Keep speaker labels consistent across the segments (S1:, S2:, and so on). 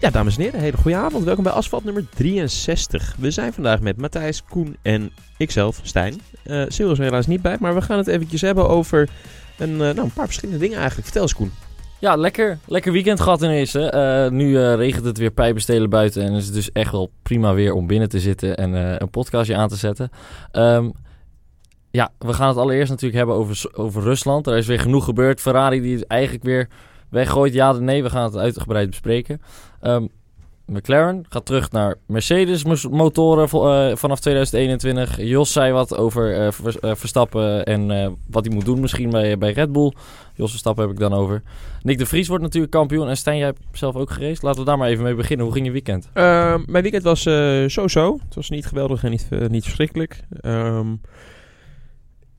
S1: Ja, dames en heren, hele goede avond. Welkom bij asfalt nummer 63. We zijn vandaag met Matthijs, Koen en ikzelf, Stijn. Eh Cyril is er helaas niet bij, maar we gaan het eventjes hebben over een, eh, nou, een paar verschillende dingen eigenlijk. Vertel eens, Koen.
S2: Ja, lekker. Lekker weekend gehad ineens. Hè. Eh, nu eh, regent het weer pijpenstelen buiten. En is het dus echt wel prima weer om binnen te zitten en eh, een podcastje aan te zetten. Ehm, ja, we gaan het allereerst natuurlijk hebben over, S- over Rusland. Er is weer genoeg gebeurd. Ferrari die het eigenlijk weer weggooit. Ja, nee, we gaan het uitgebreid bespreken. Ehm, McLaren gaat terug naar Mercedes-motoren eh, vanaf 2021. Jos zei wat over eh, Vers- eh, Verstappen en eh, wat hij moet doen misschien bij, bij Red Bull. Jos Verstappen heb ik dan over. Nick de Vries wordt natuurlijk kampioen. En Stijn, jij hebt zelf ook gereisd. Laten we daar maar even mee beginnen. Hoe ging je weekend?
S1: Eh, mijn weekend was eh, zo-zo. Het was niet geweldig en niet, eh, niet verschrikkelijk. Ehm,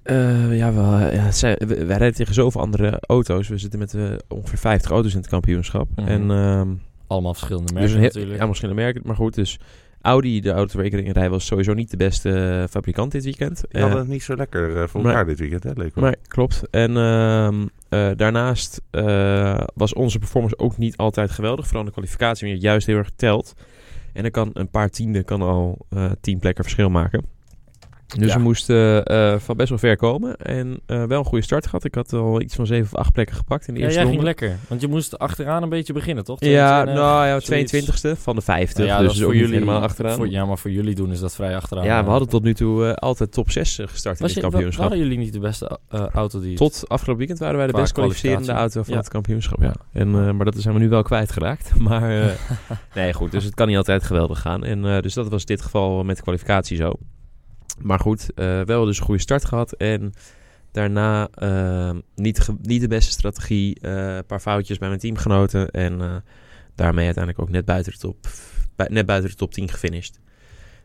S1: eh, ja, we, ja, het zijn- we- we rijden tegen zoveel andere auto's. We zitten met eh, ongeveer 50 auto's in het kampioenschap.
S2: Mhm.
S1: En ehm,
S2: Allemaal verschillende
S1: dus
S2: merken
S1: een heel,
S2: natuurlijk.
S1: Ja, misschien merk maar goed. Dus Audi, de auto waar ik in rij, was sowieso niet de beste eh, fabrikant dit weekend.
S3: Die
S1: Eh,
S3: hadden het niet zo lekker eh, voor
S1: maar-
S3: elkaar dit weekend, hè, leek wel.
S1: maar klopt. En ehm, eh, daarnaast eh, was onze performance ook niet altijd geweldig. Vooral in de kwalificatie, wanneer het juist heel erg telt. En dan kan een paar tienden kan al eh tien plekken verschil maken. Dus
S2: Ja.
S1: we moesten eh, van best wel ver komen. En eh, wel een goede start gehad. Ik had al iets van zeven of acht plekken gepakt in de
S2: Ja,
S1: eerste
S2: jij ging
S1: ronde.
S2: lekker. Want je moest achteraan een beetje beginnen, toch?
S1: Ja,
S2: Zoiets, eh,
S1: nou ja,
S2: zoiets.
S1: 22e van de 50.
S2: Nou ja,
S1: dus
S2: dat
S1: dat
S2: is
S1: is ook
S2: voor
S1: niet
S2: jullie
S1: helemaal achteraan.
S2: Voor, ja, maar voor jullie doen is dat vrij achteraan.
S1: Ja, we
S2: eh.
S1: hadden tot nu toe eh, altijd top 6 gestart in
S2: Was
S1: het
S2: je, wa-
S1: kampioenschap.
S2: waren jullie niet de beste eh, auto die...
S1: Tot afgelopen weekend waren wij de
S2: Qua
S1: best kwalificerende
S2: kwalificatie.
S1: auto van
S2: Ja.
S1: het kampioenschap. Ja. En, eh, maar dat zijn we nu wel kwijtgeraakt. Maar eh, nee, goed. Dus het kan niet altijd geweldig gaan. En, eh, dus dat was in dit geval met de kwalificatie zo. Maar goed, eh, wel dus een goede start gehad. En daarna eh, niet, ge- niet de beste strategie. eh, Een paar foutjes bij mijn teamgenoten. En eh, daarmee uiteindelijk ook net buiten de top, bij- net buiten de top 10 gefinished.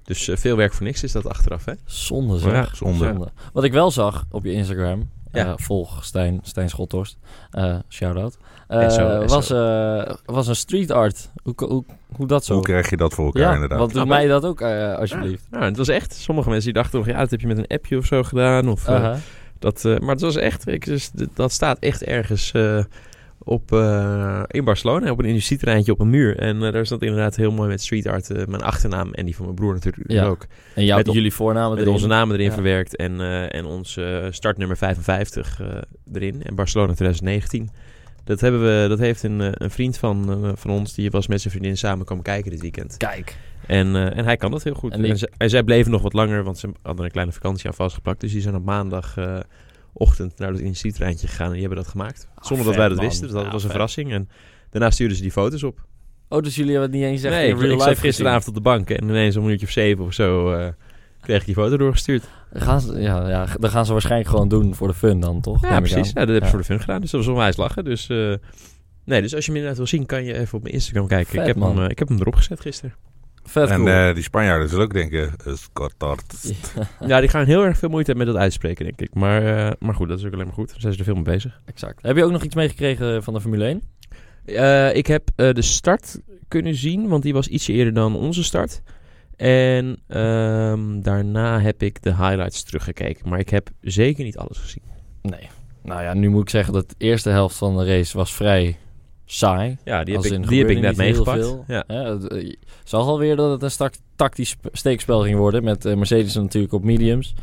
S1: Dus eh, veel werk voor niks is dat achteraf, hè?
S2: Zonde, zeg.
S1: Ja,
S3: zonde.
S2: Zonde. Wat ik wel zag op je Instagram,
S1: Ja.
S2: eh, volg Stijn, Stijn Schottorst, eh, shout-out, eh,
S1: SO.
S2: was, eh, was een street art. Hoe, hoe, hoe dat zo?
S3: Hoe krijg je dat voor elkaar,
S2: ja,
S3: inderdaad?
S2: want doe
S1: Ah,
S2: mij dat ook eh, alsjeblieft.
S1: Nou, het was echt. Sommige mensen die dachten nog, ja, dat heb je met een appje of zo gedaan. Of, eh,
S2: Aha.
S1: dat, eh, maar het was echt, ik, dus, d- dat staat echt ergens eh, op, eh, in Barcelona, op een industrieterreintje op een muur. En eh, daar stond inderdaad heel mooi met street art eh, mijn achternaam en die van mijn broer natuurlijk
S2: Ja.
S1: ook.
S2: En jou,
S1: Met on-
S2: jullie voornamen
S1: Met
S2: erin.
S1: onze namen erin
S2: Ja.
S1: verwerkt en, eh, en ons eh, startnummer 55 eh, erin. En Barcelona 2019. Dat, hebben we, dat heeft een, eh, een vriend van, eh, van ons, die was met zijn vriendin samen komen kijken dit weekend.
S2: Kijk.
S1: En, eh, en hij kan dat heel goed.
S2: En
S1: En,
S2: die-
S1: ze- en zij bleven nog wat langer, want ze hadden een kleine vakantie aan vastgeplakt. Dus die zijn op maandagochtend ochtend naar het industrietreintje gegaan en die hebben dat gemaakt. Zonder dat
S2: Ah,
S1: wij
S2: vet,
S1: dat
S2: man.
S1: wisten, dus dat
S2: Ja,
S1: was een
S2: vet.
S1: verrassing. En daarna stuurden ze die foto's op.
S2: Oh, dus jullie hebben het niet eens echt
S1: nee,
S2: in
S1: ik,
S2: real
S1: ik
S2: life
S1: zat gisteravond op de bank en ineens een minuutje of zeven of zo eh, kreeg ik die foto doorgestuurd.
S2: gezien? Gaan ze, ja, ja, dat gaan ze waarschijnlijk gewoon doen voor de fun dan, toch?
S1: Ja,
S2: Neem ik
S1: precies.
S2: aan.
S1: Nou, dat heb ik
S2: Ja.
S1: voor de fun gedaan, dus dat was onwijs lachen. Dus, eh, nee, dus als je hem inderdaad wil zien, kan je even op mijn Instagram kijken.
S2: Vet,
S1: ik, heb hem,
S2: man.
S1: eh, ik heb hem erop gezet gisteren.
S2: Vet
S3: en
S2: cool.
S3: eh, die Spanjaarden zullen ook denken, eh, is Qatar.
S1: Ja, die gaan heel erg veel moeite hebben met dat uitspreken, denk ik. Maar, eh, maar goed, dat is ook alleen maar goed. Daar zijn ze er veel mee bezig.
S2: exact. Heb je ook nog iets meegekregen van de Formule 1?
S1: Eh, ik heb eh, de start kunnen zien, want die was ietsje eerder dan onze start. En ehm, daarna heb ik de highlights teruggekeken. Maar ik heb zeker niet alles gezien.
S2: Nee. Nou ja, nu moet ik zeggen dat de eerste helft van de race was vrij saai.
S1: Ja, die heb
S2: Als in,
S1: ik, die heb ik
S2: gebeurde
S1: net
S2: niet heel
S1: meegepakt.
S2: veel.
S1: Ja.
S2: Hè, het, eh, je zag alweer dat het een stak, tactisch sp- steekspel ging worden. Met eh, Mercedes natuurlijk op mediums.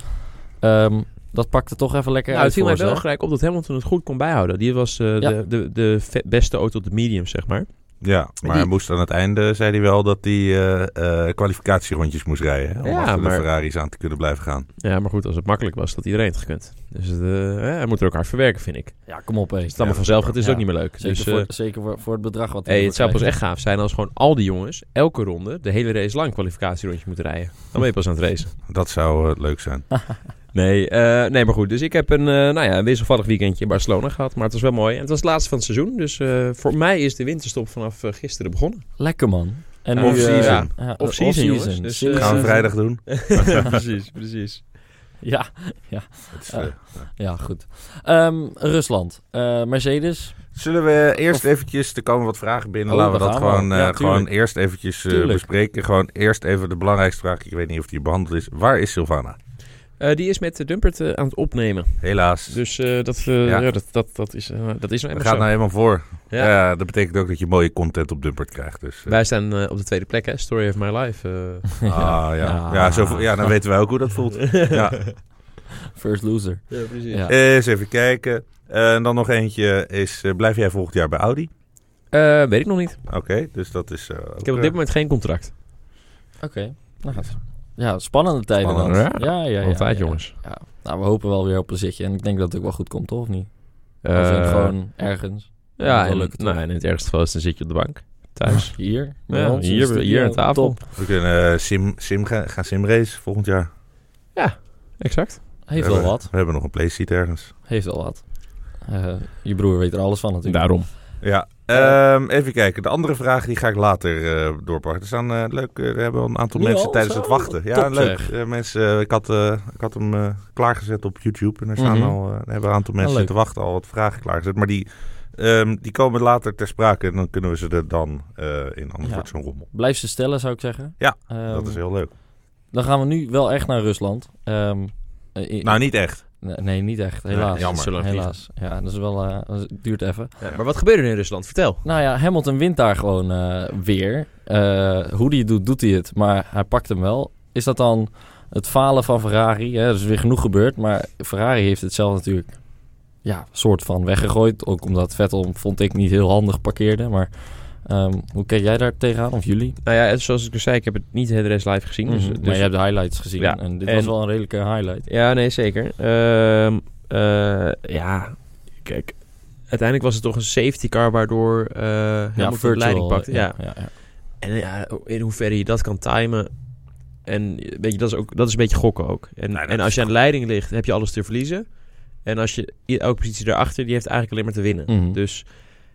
S2: Ehm, dat pakte toch even lekker
S1: Nou, het
S2: uit
S1: viel
S2: voor
S1: mij
S2: ze.
S1: wel gelijk op dat Hamilton het goed kon bijhouden. Die was eh,
S2: Ja.
S1: de, de, de ve- beste auto op de medium, zeg maar.
S3: Ja, maar hij
S1: Die-
S3: moest aan het einde, zei hij wel, dat hij eh, eh, kwalificatierondjes moest rijden. Hè, om
S1: Ja,
S3: achter
S1: maar-
S3: de Ferraris aan te kunnen blijven gaan.
S1: Ja, maar goed, als het makkelijk was, had iedereen het gekund. Dus het, eh, hij moet er ook hard voor werken, vind ik. Als
S2: Ja, kom op hé.
S1: het allemaal vanzelf gaat, is het
S2: Ja.
S1: ook niet meer leuk.
S2: Zeker,
S1: dus, eh,
S2: voor, zeker voor, voor het bedrag wat hij
S1: Hey, het zou pas
S2: ervoor
S1: echt gaaf zijn als gewoon al die jongens elke ronde de hele race lang kwalificatierondje moeten rijden. Dan ben je pas aan het racen.
S3: Dat zou eh, leuk zijn.
S1: Nee, eh, nee, maar goed. Dus ik heb een, eh, nou ja, een wisselvallig weekendje in Barcelona gehad. Maar het was wel mooi. En het was het laatste van het seizoen. Dus eh, voor mij is de winterstop vanaf eh, gisteren begonnen.
S2: krijgt. Lekker man. En
S1: Ja,
S2: nu,
S3: off-season.
S2: eh,
S1: Ja,
S2: ja,
S1: off-season, jongens.
S2: off-season.
S1: Dus,
S2: Single
S1: eh,
S3: Gaan we
S2: season.
S3: vrijdag doen?
S1: precies, precies.
S2: Ja,
S3: Het is,
S2: Ja.
S3: eh,
S2: ja goed. Ehm, Rusland. Eh, Mercedes.
S3: Zullen we eerst eventjes, er komen wat vragen binnen,
S2: Oh,
S3: laten we
S2: daar
S3: dat
S2: gaan we.
S3: gewoon, eh,
S2: Ja, tuurlijk.
S3: gewoon eerst eventjes eh,
S2: Tuurlijk.
S3: bespreken. Gewoon eerst even de belangrijkste vraag, ik weet niet of die behandeld is. Waar is Sylvana?
S1: Eh, die is met de Dumpert eh, aan het opnemen.
S3: Helaas.
S1: Dus eh, dat, eh,
S3: Ja.
S1: ja. dat, dat, dat is, eh, dat is nou
S3: dat
S1: eenmaal
S3: gaat
S1: zo.
S3: nou helemaal voor. Ja.
S1: Ja.
S3: dat betekent ook dat je mooie content op Dumpert krijgt. Dus, eh,
S1: Wij staan eh, op de tweede plek, hè? Story of my life. eh.
S3: ah, ja. Ja, zo, vo- ja, dan weten wij ook hoe dat voelt. Ja.
S2: First loser.
S1: ja, precies.
S2: Ja.
S3: Eens even kijken. Eh, en dan nog eentje is, eh, blijf jij volgend jaar bij Audi?
S1: Eh, weet ik nog niet.
S3: Oké, dus dat is... eh, ook,
S1: Ik heb op
S3: eh,
S1: dit moment geen contract.
S2: Oké, nou gaat. Ja, spannende tijden
S3: Spannend,
S2: dan. Ja, ja, ja.
S1: Altijd,
S2: ja.
S1: jongens.
S2: Ja. Nou, we hopen wel weer op een zitje. En ik denk dat het ook wel goed komt, toch? Of niet? Of
S1: Eh,
S2: in gewoon ergens.
S1: ja,
S2: wel
S1: en,
S2: lukken, toch?
S1: nou, en in het ergste geval is dan zit je op de bank. Thuis.
S2: Hier. bij
S1: Ja,
S2: ons in de
S1: hier,
S2: studio.
S1: hier aan tafel.
S2: Top.
S3: We kunnen eh, sim, sim gaan, gaan simrace volgend jaar.
S1: Exact.
S2: Heeft
S3: We
S2: wel
S3: hebben-
S2: wat.
S3: We hebben nog een playseat ergens.
S2: Heeft wel wat. Eh, je broer weet er alles van natuurlijk.
S1: Daarom.
S3: Ja,
S2: Eh.
S3: ehm, even kijken. De andere vraag die ga ik later eh, doorpakken. Er staan eh, leuk, eh, er hebben al een aantal
S2: Nu
S3: mensen
S2: al
S3: tijdens
S2: zo?
S3: het wachten. Ja,
S2: Top,
S3: leuk.
S2: zeg.
S3: Eh, mensen, eh, ik, had, eh, ik had hem eh, klaargezet op YouTube. En er staan
S2: Mhm.
S3: al, eh, er hebben een aantal mensen
S2: leuk.
S3: te wachten al wat vragen klaargezet. Maar die, ehm, die komen later ter sprake. En dan kunnen we ze er dan eh, in. Anders
S2: Ja.
S3: wordt zo'n rommel.
S2: Blijf ze stellen, zou ik zeggen.
S3: Ja,
S2: Ehm,
S3: dat is heel leuk.
S2: Dan gaan we nu wel echt naar Rusland. Ehm, eh, i-
S3: Nou, niet echt.
S2: nee, nee, niet echt. Helaas.
S3: Nee, jammer.
S1: Zullen we niet-
S2: Helaas. Ja, dat is wel... eh, dat is- duurt even.
S1: Ja, maar wat gebeurde er in Rusland? Vertel.
S2: Nou ja, Hamilton wint daar gewoon eh, weer. Eh, hoe hij het doet, doet hij het. Maar hij pakt hem wel. Is dat dan het falen van Ferrari? Hè? Er is weer genoeg gebeurd. Maar Ferrari heeft het zelf natuurlijk ja, soort van weggegooid. Ook omdat Vettel, vond ik, niet heel handig parkeerde. Maar ehm, hoe kijk jij daar tegenaan? Of jullie?
S1: Nou ja, zoals ik al zei, ik heb het niet het rest live gezien. dus-
S2: Mhm.
S1: dus,
S2: maar je hebt de highlights gezien.
S1: Ja,
S2: En dit
S1: en-
S2: was wel een redelijke highlight.
S1: Ja, nee, zeker. Ehm, eh, ja, kijk. Uiteindelijk was het toch een safety car waardoor eh Hamilton de leiding
S2: virtual,
S1: pakte. Ja.
S2: Ja, ja, ja.
S1: En ja, in hoeverre je dat kan timen. En weet je, dat is, ook, dat is een beetje gokken ook. En,
S3: Nee, dat
S1: en
S3: is
S1: als je aan de
S3: goed.
S1: leiding ligt, heb je alles te verliezen. En als je i- elke positie daarachter, die heeft eigenlijk alleen maar te winnen.
S2: Mhm.
S1: Dus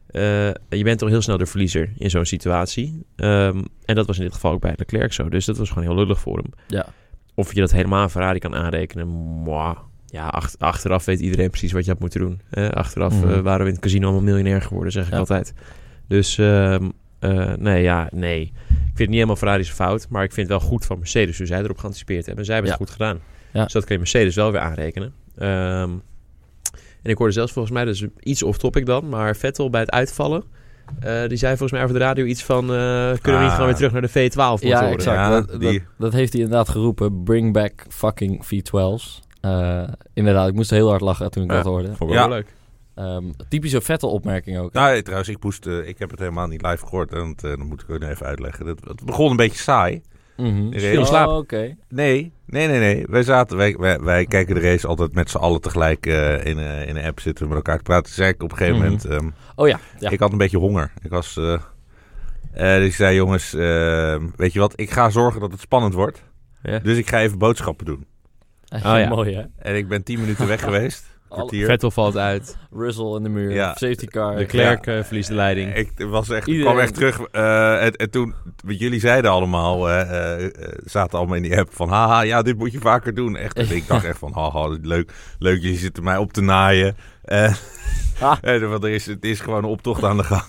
S1: eh, je bent toch heel snel de verliezer in zo'n situatie. Ehm, en dat was in dit geval ook bij Leclerc zo. Dus dat was gewoon heel lullig voor hem.
S2: Ja.
S1: Of je dat helemaal aan Ferrari kan aanrekenen. Mwah. Ja, ach- achteraf weet iedereen precies wat je had moeten doen. hè. achteraf
S2: Mhm.
S1: eh, waren we in het casino allemaal miljonair geworden, zeg ik
S2: Ja.
S1: altijd. Dus ehm, eh, nee, ja, nee. Ik vind het niet helemaal Ferrari's fout, maar ik vind het wel goed van Mercedes. hoe zij erop geanticipeerd hebben. En zij hebben het goed gedaan.
S2: Ja.
S1: Dus dat kun je Mercedes wel weer aanrekenen. Ehm, en ik hoorde zelfs volgens mij, dat is iets off-topic dan, maar Vettel bij het uitvallen... eh, die zei volgens mij over de radio iets van... eh, kunnen we
S3: Ah.
S1: niet gewoon weer terug naar de V12 motoren?
S2: Ja, exact.
S3: Ja,
S2: dat,
S3: die-
S2: dat, dat heeft hij inderdaad geroepen. Bring back fucking V12's. Eh, inderdaad, ik moest heel hard lachen toen ik
S3: Ja.
S2: dat hoorde.
S1: Vond ik wel
S3: Ja.
S1: leuk.
S2: Ehm, typische Vettel-opmerking ook.
S3: Nou, eh, trouwens, ik, moest, eh, ik heb het helemaal niet live gehoord. En dat, eh, dat moet ik ook nog even uitleggen. Dat, het begon een beetje saai.
S2: Mhm.
S3: Is veel
S2: Oh,
S1: slaap.
S2: Oké.
S3: Nee, nee, nee, nee. Wij, zaten, wij, wij, wij kijken de race altijd met z'n allen tegelijk eh, in, eh, in een app zitten we met elkaar te praten. Zei ik op een gegeven
S2: Mhm.
S3: moment, ehm,
S2: Oh ja. ja.
S3: ik had een beetje honger. Ik was, eh, eh, dus ik zei jongens, eh, weet je wat, ik ga zorgen dat het spannend wordt.
S1: Ja.
S3: Dus ik ga even boodschappen doen. oh
S1: ja.
S2: Mooi hè?
S3: En ik ben tien minuten weg geweest.
S2: Alle-
S3: Kwartier.
S1: Vettel valt uit.
S2: Russell in de muur.
S3: Ja.
S2: Safety car.
S1: De Klerk eh, verliest de leiding.
S3: Ik was echt, ik
S2: Iedereen-
S3: kwam echt terug. eh, en, en toen, want jullie zeiden allemaal, eh, eh, eh, zaten allemaal in die app van, haha, ja, dit moet je vaker doen. Echt, en ik dacht echt van, haha, leuk, leuk, jullie zitten mij op te naaien. Eh,
S2: Ah.
S3: eh, want er is, het is gewoon een optocht aan de gang.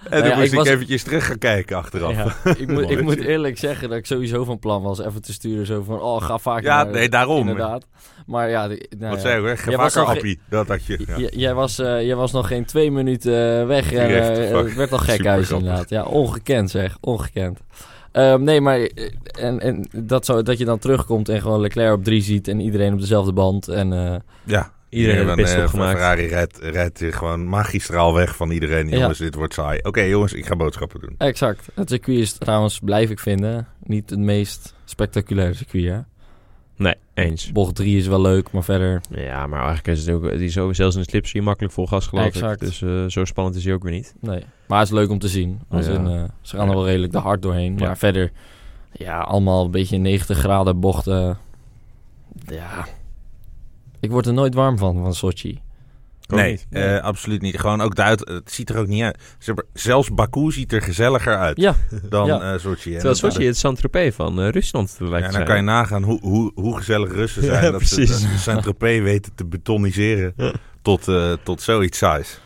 S3: En
S2: Nou ja,
S3: toen moest
S2: ik
S3: ik,
S2: was-
S3: eventjes terug gaan kijken achteraf. Ja,
S2: Ja. ik, moet, ik
S3: Mooi.
S2: moet eerlijk zeggen dat ik sowieso van plan was even te sturen. Zo van, oh, ga vaker naar-
S3: nee, daarom.
S2: Inderdaad. Maar ja, die- nou,
S3: Wat
S2: ja.
S3: zei ik, hè? Ga
S2: Jij was
S3: vaker,
S2: nog ge-
S3: appie. Dat had je. Ja.
S2: J- jij, was, eh, jij was nog geen twee minuten eh, weg. En,
S3: Terecht,
S2: eh,
S3: fuck.
S2: het werd al gek
S3: Super
S2: huis
S3: grappig.
S2: inderdaad. Ja, ongekend zeg. Ongekend. Ehm, nee, maar eh, en, en dat, zo, dat je dan terugkomt en gewoon Leclerc op drie ziet en iedereen op dezelfde band. En, eh,
S3: Ja.
S1: Iedereen heeft
S3: dan,
S1: best
S3: eh,
S1: opgemaakt.
S3: Ferrari rijdt, rijdt hier gewoon magistraal weg van iedereen.
S2: Ja.
S3: Jongens, dit wordt saai. Oké, jongens, ik ga boodschappen doen.
S2: exact. Het circuit is trouwens, blijf ik vinden, niet het meest spectaculaire circuit. Hè?
S1: Nee, eens.
S2: Bocht 3 is wel leuk, maar verder.
S1: Ja, maar eigenlijk is het ook... Die is ook zelfs in de slipstream makkelijk vol gas geloof
S2: Exact.
S1: ik. Dus eh, zo spannend is hij ook weer niet.
S2: Nee. Maar het is leuk om te zien. Als
S1: Ja.
S2: in, eh, ze gaan er wel redelijk de hard doorheen.
S1: Ja.
S2: Maar verder, ja, allemaal een beetje 90 graden bochten. Ja. Ik word er nooit warm van, van Sochi.
S1: Ook
S3: nee,
S1: niet.
S3: eh, absoluut niet. Gewoon ook de uit, het ziet er ook niet uit. Ze hebben- zelfs Baku ziet er gezelliger uit
S2: Ja.
S3: dan
S2: Ja.
S3: eh, Sochi. En
S1: Terwijl
S3: dat-
S1: Sochi het Saint-Tropez van eh, Rusland lijkt
S3: Ja,
S1: te
S3: dan
S1: zijn.
S3: kan je nagaan hoe, hoe, hoe gezellig Russen zijn.
S1: Ja,
S3: dat ze
S1: precies.
S3: dat ze Saint-Tropez weten te betoniseren tot, eh, tot zoiets saais.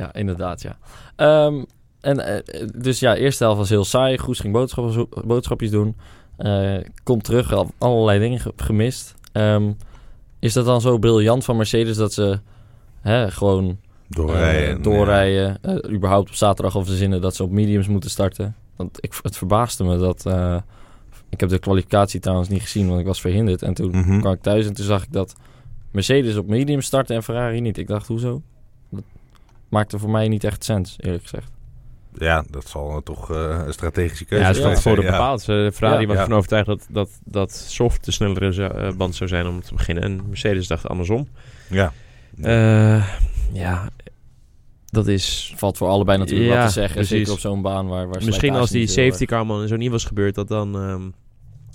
S2: Ja, inderdaad, ja. Ehm, en eh, eh, dus ja, eerste helft was heel saai. Goes ging boodschappen zo- boodschapjes doen. Eh, komt terug, al allerlei dingen ge- gemist. Eh, Ehm, is dat dan zo briljant van Mercedes dat ze hè, gewoon
S3: Doorrijden.
S2: eh, doorrijden eh, überhaupt op zaterdag of de zinnen dat ze op mediums moeten starten? Want ik, het verbaasde me dat. eh, ik heb de kwalificatie trouwens niet gezien, want ik was verhinderd. En toen
S3: ja. Mhm.
S2: kwam ik thuis en toen zag ik dat Mercedes op medium startte en Ferrari niet. Ik dacht, hoezo? Dat maakte voor mij niet echt sens, eerlijk gezegd.
S3: Ja, dat zal eh, toch eh, een strategische keuze
S1: Ja,
S2: dat
S1: ze
S2: is
S1: stond
S3: geweest
S1: voor de
S3: zijn, ja.
S1: bepaald. Ze- Ferrari
S2: Ja.
S1: was
S3: Ja.
S1: ervan overtuigd dat, dat, dat soft de snellere zou- eh, band zou zijn om te beginnen. En Mercedes dacht andersom.
S3: Ja.
S1: Eh, ja, dat is...
S2: Valt voor allebei natuurlijk
S1: Ja,
S2: wat te zeggen.
S1: precies.
S2: Zeker op zo'n baan waar... waar
S1: Misschien als
S2: slijtage
S1: die
S2: niet heel erg-
S1: safety car man zo niet was gebeurd, dat dan ehm,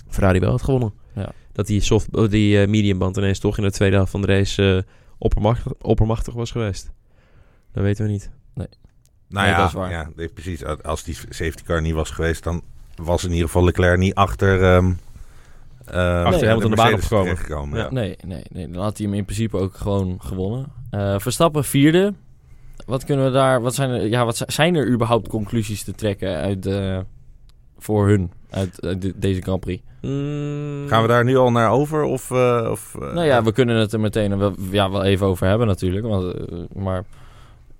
S1: Ferrari wel had gewonnen.
S2: Ja.
S1: Dat die, soft, oh, die eh, mediumband ineens toch in de tweede helft van de race eh, oppermachtig, oppermachtig was geweest. Dat weten we niet.
S3: Nou
S2: Nee,
S3: ja,
S2: dat is waar.
S3: ja, nee, precies. Als die safety car niet was geweest, dan was in ieder geval Leclerc niet achter... ehm eh,
S1: Hamilton de baan
S3: Mercedes
S1: opgekomen.
S3: terechtgekomen,
S1: Ja.
S3: Ja.
S2: Nee, nee, nee. Dan had hij hem in principe ook gewoon gewonnen. Eh, Verstappen vierde. Wat kunnen we daar... Wat zijn er, ja, wat zi- zijn er überhaupt conclusies te trekken uit... eh, voor hun, uit eh, de- deze Grand Prix?
S1: Mm,
S3: Gaan we daar nu al naar over? Of, eh, of, eh,
S2: Nou ja, we kunnen het er meteen wel, ja, wel even over hebben natuurlijk. Want, eh, maar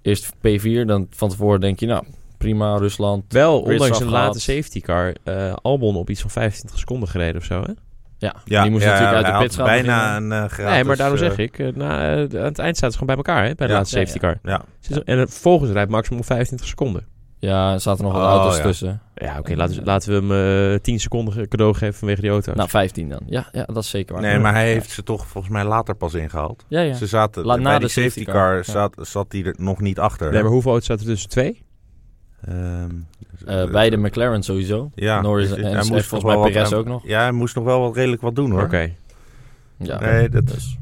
S2: eerst P4, dan van tevoren denk je, nou, prima, Rusland.
S1: Wel,
S2: Grids
S1: ondanks een
S2: afgehaald.
S1: late safety car, eh, Albon op iets van 25 seconden gereden of zo, hè?
S2: Ja,
S3: Ja,
S2: die moest
S3: ja,
S2: natuurlijk uit
S3: hij
S2: de
S3: had
S2: pits gaan
S3: bijna
S2: beginnen.
S3: een eh gratis...
S1: nee, maar daarom
S3: eh,
S1: zeg ik, eh, na, eh, aan het eind zaten ze gewoon bij elkaar, hè? Bij de
S3: Ja.
S1: laatste
S2: Ja,
S1: safety car.
S3: Ja.
S1: Ze is- En eh, vervolgens rijdt maximaal 25 seconden.
S2: Ja, er zaten nog wat
S3: Oh,
S2: auto's
S3: ja.
S2: tussen.
S1: Ja, oké, laten, we- laten we hem eh, 10 seconden cadeau geven vanwege die auto's.
S2: Nou, 15 dan. Ja, ja, dat is zeker waar.
S3: Nee, maar hij heeft ze toch volgens mij later pas ingehaald.
S2: Ja, ja.
S3: Ze zaten
S2: La- na
S3: bij
S2: de
S3: die safety
S2: safety
S3: car,
S2: car, ja.
S3: zat, zat die er nog niet achter.
S1: nee, maar hoeveel auto's zaten er tussen? Twee?
S3: Ehm,
S2: Eh, bij de McLaren sowieso.
S3: ja,
S2: Norris
S3: dus
S2: en
S3: hij
S2: Sainz,
S3: moest
S2: volgens
S3: nog wel
S2: mij
S3: wat-
S2: Perez ook nog.
S3: Ja, hij moest nog wel wat redelijk wat doen hoor.
S1: Oké.
S2: Ja.
S3: Nee, dat
S2: Dus,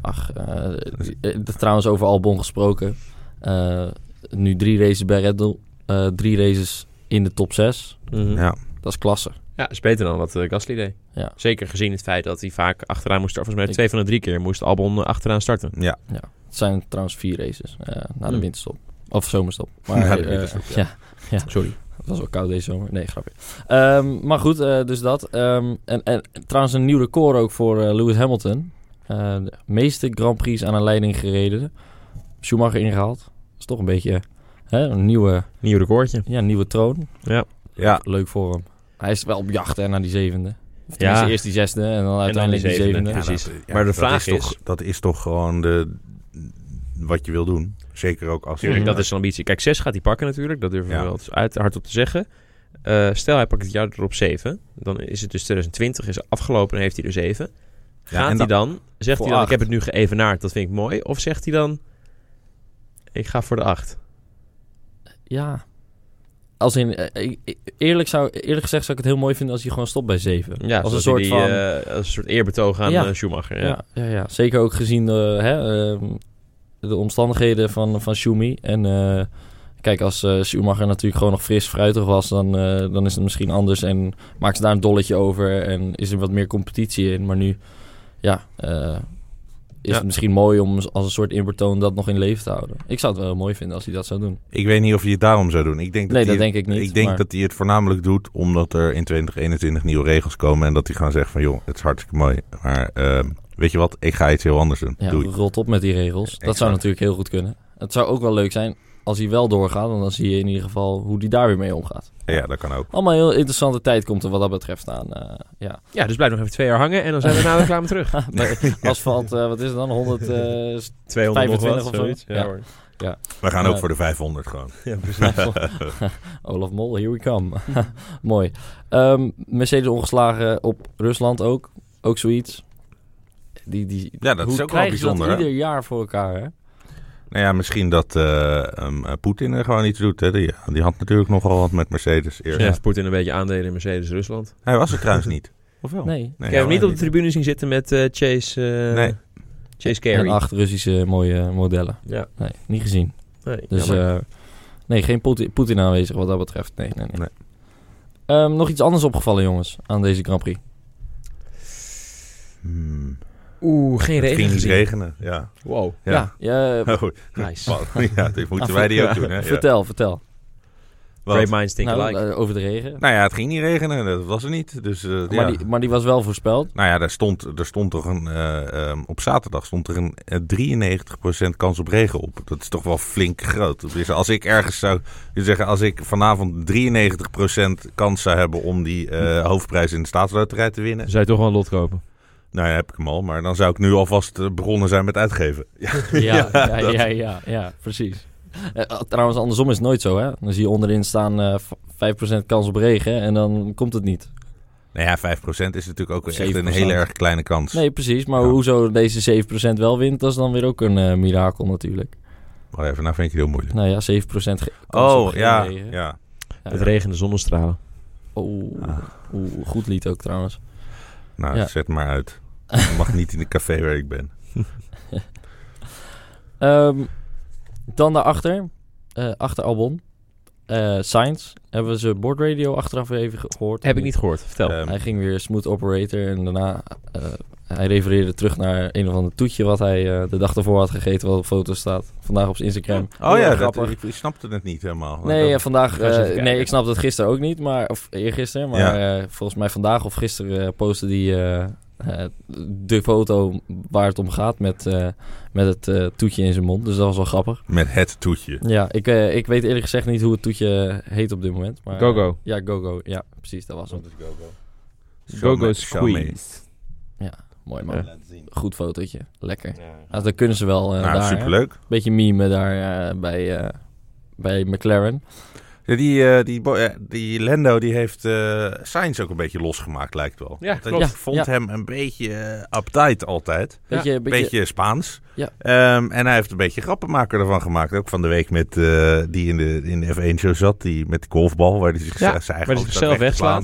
S2: ach, eh, eh, trouwens over Albon gesproken. Eh, nu drie races bij Red Bull, eh, drie races in de top 6.
S1: Mhm. ja.
S3: Ja.
S2: Dat is klasse.
S1: is beter dan wat eh, Gasly deed.
S2: Ja.
S1: Zeker gezien het feit dat hij vaak achteraan moest starten. Volgens mij
S2: Ik-
S1: twee van de drie keer moest Albon eh, achteraan starten.
S3: Ja,
S2: Het zijn trouwens vier races eh, na de
S1: Hmm.
S2: winterstop. Of zomerstop.
S3: Na de
S2: eh,
S3: winterstop, ja.
S2: ja.
S1: Sorry.
S2: het was wel koud deze zomer. Nee, grapje. Ehm, maar goed, eh, dus dat. Ehm, en, en trouwens een nieuw record ook voor eh, Lewis Hamilton. Eh, de meeste Grand Prix aan een leiding gereden. Schumacher ingehaald. Dat is toch een beetje hè, een nieuwe,
S1: Nieuw recordje.
S2: ja, nieuwe troon.
S3: ja.
S2: Leuk voor hem. Hij is wel op jacht hè, naar die zevende. Of
S1: Ja.
S2: ja. eerst die zesde en dan uiteindelijk die
S1: zevende.
S2: zevende.
S1: Ja, precies.
S3: dat-
S1: Maar de
S3: dat
S1: vraag is-
S3: toch, dat is toch gewoon de, wat je wil doen. Zeker ook als...
S1: Tuurlijk,
S2: Mhm.
S1: dat is zijn ambitie. Kijk, 6 gaat hij pakken natuurlijk. Dat durven
S3: Ja.
S1: we wel uit, hardop te zeggen. Eh, stel, hij pakt het jaar erop 7. Dan is het dus 2020, is afgelopen en heeft hij er 7. Gaat
S3: en
S1: hij dan, zegt
S2: voor
S1: hij dan, ik
S2: acht.
S1: heb het nu geëvenaard, dat vind ik mooi. Of zegt hij dan, ik ga voor de 8.
S2: Ja. Als in, eh, ik- ik- eerlijk, zou, eerlijk gezegd zou ik het heel mooi vinden als hij gewoon stopt bij 7.
S1: Ja,
S2: als een
S1: zodat
S2: soort
S1: hij die,
S2: van.
S1: eh, als een soort eerbetoog aan
S2: Ja.
S1: eh, Schumacher. Ja.
S2: ja, ja, ja. Zeker ook gezien de, hè, ehm, de omstandigheden van, van Schumi. En eh, kijk, als eh, Schumacher natuurlijk gewoon nog fris, fruitig was, dan, eh, dan is het misschien anders. En maakt ze daar een dolletje over en is er wat meer competitie in. Maar nu, ja, eh, is
S1: Ja.
S2: het misschien mooi om als een soort eerbetoon dat nog in leven te houden. Ik zou het wel heel mooi vinden als hij dat zou doen.
S3: Ik weet niet of hij het daarom zou doen. Ik denk dat
S2: nee,
S3: hij
S2: dat denk ik niet.
S3: ik denk
S2: maar-
S3: dat hij het voornamelijk doet omdat er in 2021 nieuwe regels komen. En dat hij gewoon zegt van, joh, het is hartstikke mooi. Maar ehm, weet je wat, ik ga iets heel anders doen.
S2: Ja,
S3: Doei.
S2: rolt op met die regels. Dat zou
S3: Exact.
S2: natuurlijk heel goed kunnen. Het zou ook wel leuk zijn als hij wel doorgaat. Want dan zie je in ieder geval hoe hij daar weer mee omgaat.
S3: Ja, dat kan ook.
S2: Allemaal heel interessante tijd komt er wat dat betreft aan. eh, ja.
S1: Ja, dus blijf nog even twee jaar hangen en dan zijn we na de reclame terug.
S2: Bij Asfalt, eh, wat is het dan? 100... eh, s-
S1: 200
S2: nog wat, zoiets. Ja.
S1: hoor.
S3: We gaan ook
S2: Ja.
S3: voor de 500 gewoon.
S2: Olaf Mol, here we come. Mooi. Ehm, Mercedes ongeslagen op Rusland ook. Ook zoiets. Die, die,
S3: Ja, dat
S2: hoe
S3: is ook wel
S2: krijgen ze dat
S3: bijzonder. hè?
S2: ieder jaar voor elkaar, hè?
S3: Nou ja, misschien dat eh, ehm, eh, Poetin er gewoon iets doet. Hè? Die, die had natuurlijk nogal wat met Mercedes eerst.
S1: Dus heeft Poetin een beetje aandelen in Mercedes-Rusland.
S3: Hij was er trouwens niet. Of wel?
S2: Nee.
S1: Ik heb hem
S3: hij
S1: niet
S3: was
S1: op de tribune zien zitten met eh, Chase, eh,
S3: Nee.
S1: Chase
S2: En
S1: Carey.
S2: acht Russische mooie modellen.
S1: Ja.
S2: Nee, niet gezien.
S1: Nee,
S2: Dus
S1: jammer.
S2: eh, nee, geen Poetin, Poetin aanwezig wat dat betreft. Nee, nee, nee.
S3: Nee.
S2: Ehm, nog iets anders opgevallen, jongens, aan deze Grand Prix.
S3: Hmm.
S2: eh,
S1: Oeh, geen
S3: Het
S1: regen
S3: ging niet
S1: gezien.
S3: regenen, ja.
S1: Wow.
S3: Ja.
S2: ja, eh,
S3: Oh,
S1: Nice.
S2: Ah,
S3: ja, dit moeten wij die ook doen. Hè? Ja.
S2: vertel, vertel.
S3: Wat?
S1: Great minds think
S2: Nou,
S1: alike.
S2: eh, over de regen.
S3: Nou ja, het ging niet regenen, dat was er niet. Dus, eh, ja.
S2: maar, die, maar die was wel voorspeld.
S3: Nou ja, daar stond, er stond toch een, eh, ehm, op zaterdag stond er een eh, 93% kans op regen op. Dat is toch wel flink groot. Dus als ik ergens zou je zeggen, als ik vanavond 93% kans zou hebben om die eh, hoofdprijs in de staatsloterij te winnen.
S1: Zou je toch wel een lot kopen?
S3: Nou ja, heb ik hem al, maar dan zou ik nu alvast eh, begonnen zijn met uitgeven.
S2: Ja, ja, ja,
S3: dat-
S2: ja, ja, precies. Eh, eh, trouwens, andersom is het nooit zo, hè? Dan zie je onderin staan eh, v- 5% kans op regen en dan komt het niet.
S3: Nou ja, 5% is natuurlijk ook echt een
S2: 7%.
S3: hele erg kleine kans.
S2: Nee, precies. Maar
S3: Ja.
S2: hoezo deze 7% wel wint, dat is dan weer ook een eh, mirakel natuurlijk.
S3: Maar even, nou vind ik het heel moeilijk.
S2: Nou ja, 7% ge- kans op
S3: Oh,
S2: geen
S3: ja,
S2: regen.
S3: ja.
S2: Ja.
S1: Het regende zonnestralen.
S2: Oeh,
S3: Ah.
S2: oeh, goed lied ook trouwens.
S3: Nou,
S2: Ja.
S3: zet maar uit. Je mag niet in het café waar ik ben.
S2: Ehm, dan daarachter, eh, achter Albon, eh Sainz. Hebben we zijn bordradio achteraf even ge- gehoord?
S1: Heb ik niet gehoord. Vertel.
S3: Ehm,
S2: Hij ging weer smooth operator en daarna... eh, hij refereerde terug naar een of ander toetje wat hij eh, de dag ervoor had gegeten... wat op foto staat. Vandaag op zijn Instagram.
S3: Oh
S2: Heel
S3: ja,
S2: erg
S3: dat,
S2: grappig.
S3: ik, ik snapte het niet helemaal.
S2: Nee,
S3: Dat-
S2: ja, vandaag.
S1: Ga eens
S2: eh,
S1: even kijken.
S2: nee, ik snapte het gisteren ook niet, maar of eergisteren. Maar eh, volgens mij vandaag of gisteren eh, postte die eh, eh, de foto waar het om gaat met, eh, met het eh, toetje in zijn mond. Dus dat was wel grappig.
S3: Met het toetje.
S2: Ja, ik, eh, ik weet eerlijk gezegd niet hoe het toetje heet op dit moment. Maar,
S1: Go-Go.
S2: ja, go-go. Ja, precies, dat was hem.
S1: Go-go
S3: Xiaomi.
S1: squeeze.
S2: Mooi man.
S1: Ja.
S2: Goed fotootje. Lekker. Nou, dat kunnen ze wel eh
S3: Nou,
S2: daar. hè.
S3: superleuk.
S2: Beetje meme daar eh, bij, eh, bij McLaren.
S3: Ja, die, eh, die, bo- eh, die Lendo die heeft eh Sainz ook een beetje losgemaakt, lijkt wel.
S1: Ja,
S3: Want
S1: klopt.
S3: Ik vond
S2: Ja.
S3: hem een beetje eh uptight altijd.
S2: Beetje,
S3: Een
S2: beetje,
S3: beetje, Spaans.
S2: Ja.
S3: Ehm, en hij heeft een beetje grappenmaker ervan gemaakt. Ook van de week met eh, die in de, in de F1-show zat. Die met de golfbal, waar hij zich,
S1: Ja,
S3: zijn eigen
S1: waar hij
S3: hoofd
S1: zichzelf
S3: staat weg te slaan.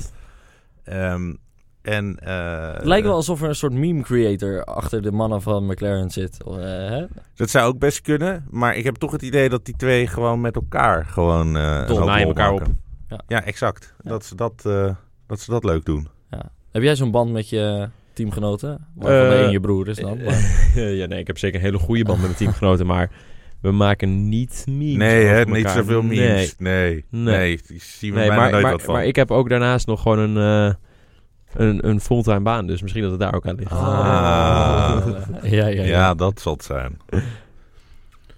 S1: wegslaat.
S3: Ehm, en, eh,
S2: Het lijkt wel alsof er een soort meme creator achter de mannen van McLaren zit. Eh, hè?
S3: Dat zou ook best kunnen, maar ik heb toch het idee dat die twee gewoon met elkaar gewoon eh een
S1: Dol-
S3: hoop
S1: naaien
S3: lol
S1: elkaar
S3: maken.
S2: Ja.
S3: Ja, exact. Dat, ze dat, eh, dat ze dat leuk doen.
S2: Ja. Heb jij zo'n band met je teamgenoten? Waarvan de
S1: Eh,
S2: een je broer is dan. maar-
S1: ja, nee, ik heb zeker een hele goede band met mijn teamgenoten, maar we maken niet memes.
S3: nee, hè,
S1: over
S3: niet
S1: elkaar.
S3: zoveel
S1: Nee.
S3: memes. Nee, nee,
S1: Nee.
S3: die zien we
S1: Nee,
S3: bijna
S1: maar,
S3: nooit
S1: maar,
S3: wat van.
S1: maar ik heb ook daarnaast nog gewoon een, eh, een, een fulltime baan. Dus misschien dat het daar ook aan ligt.
S3: Ah.
S2: ja, ja, ja,
S3: ja, dat zal het zijn.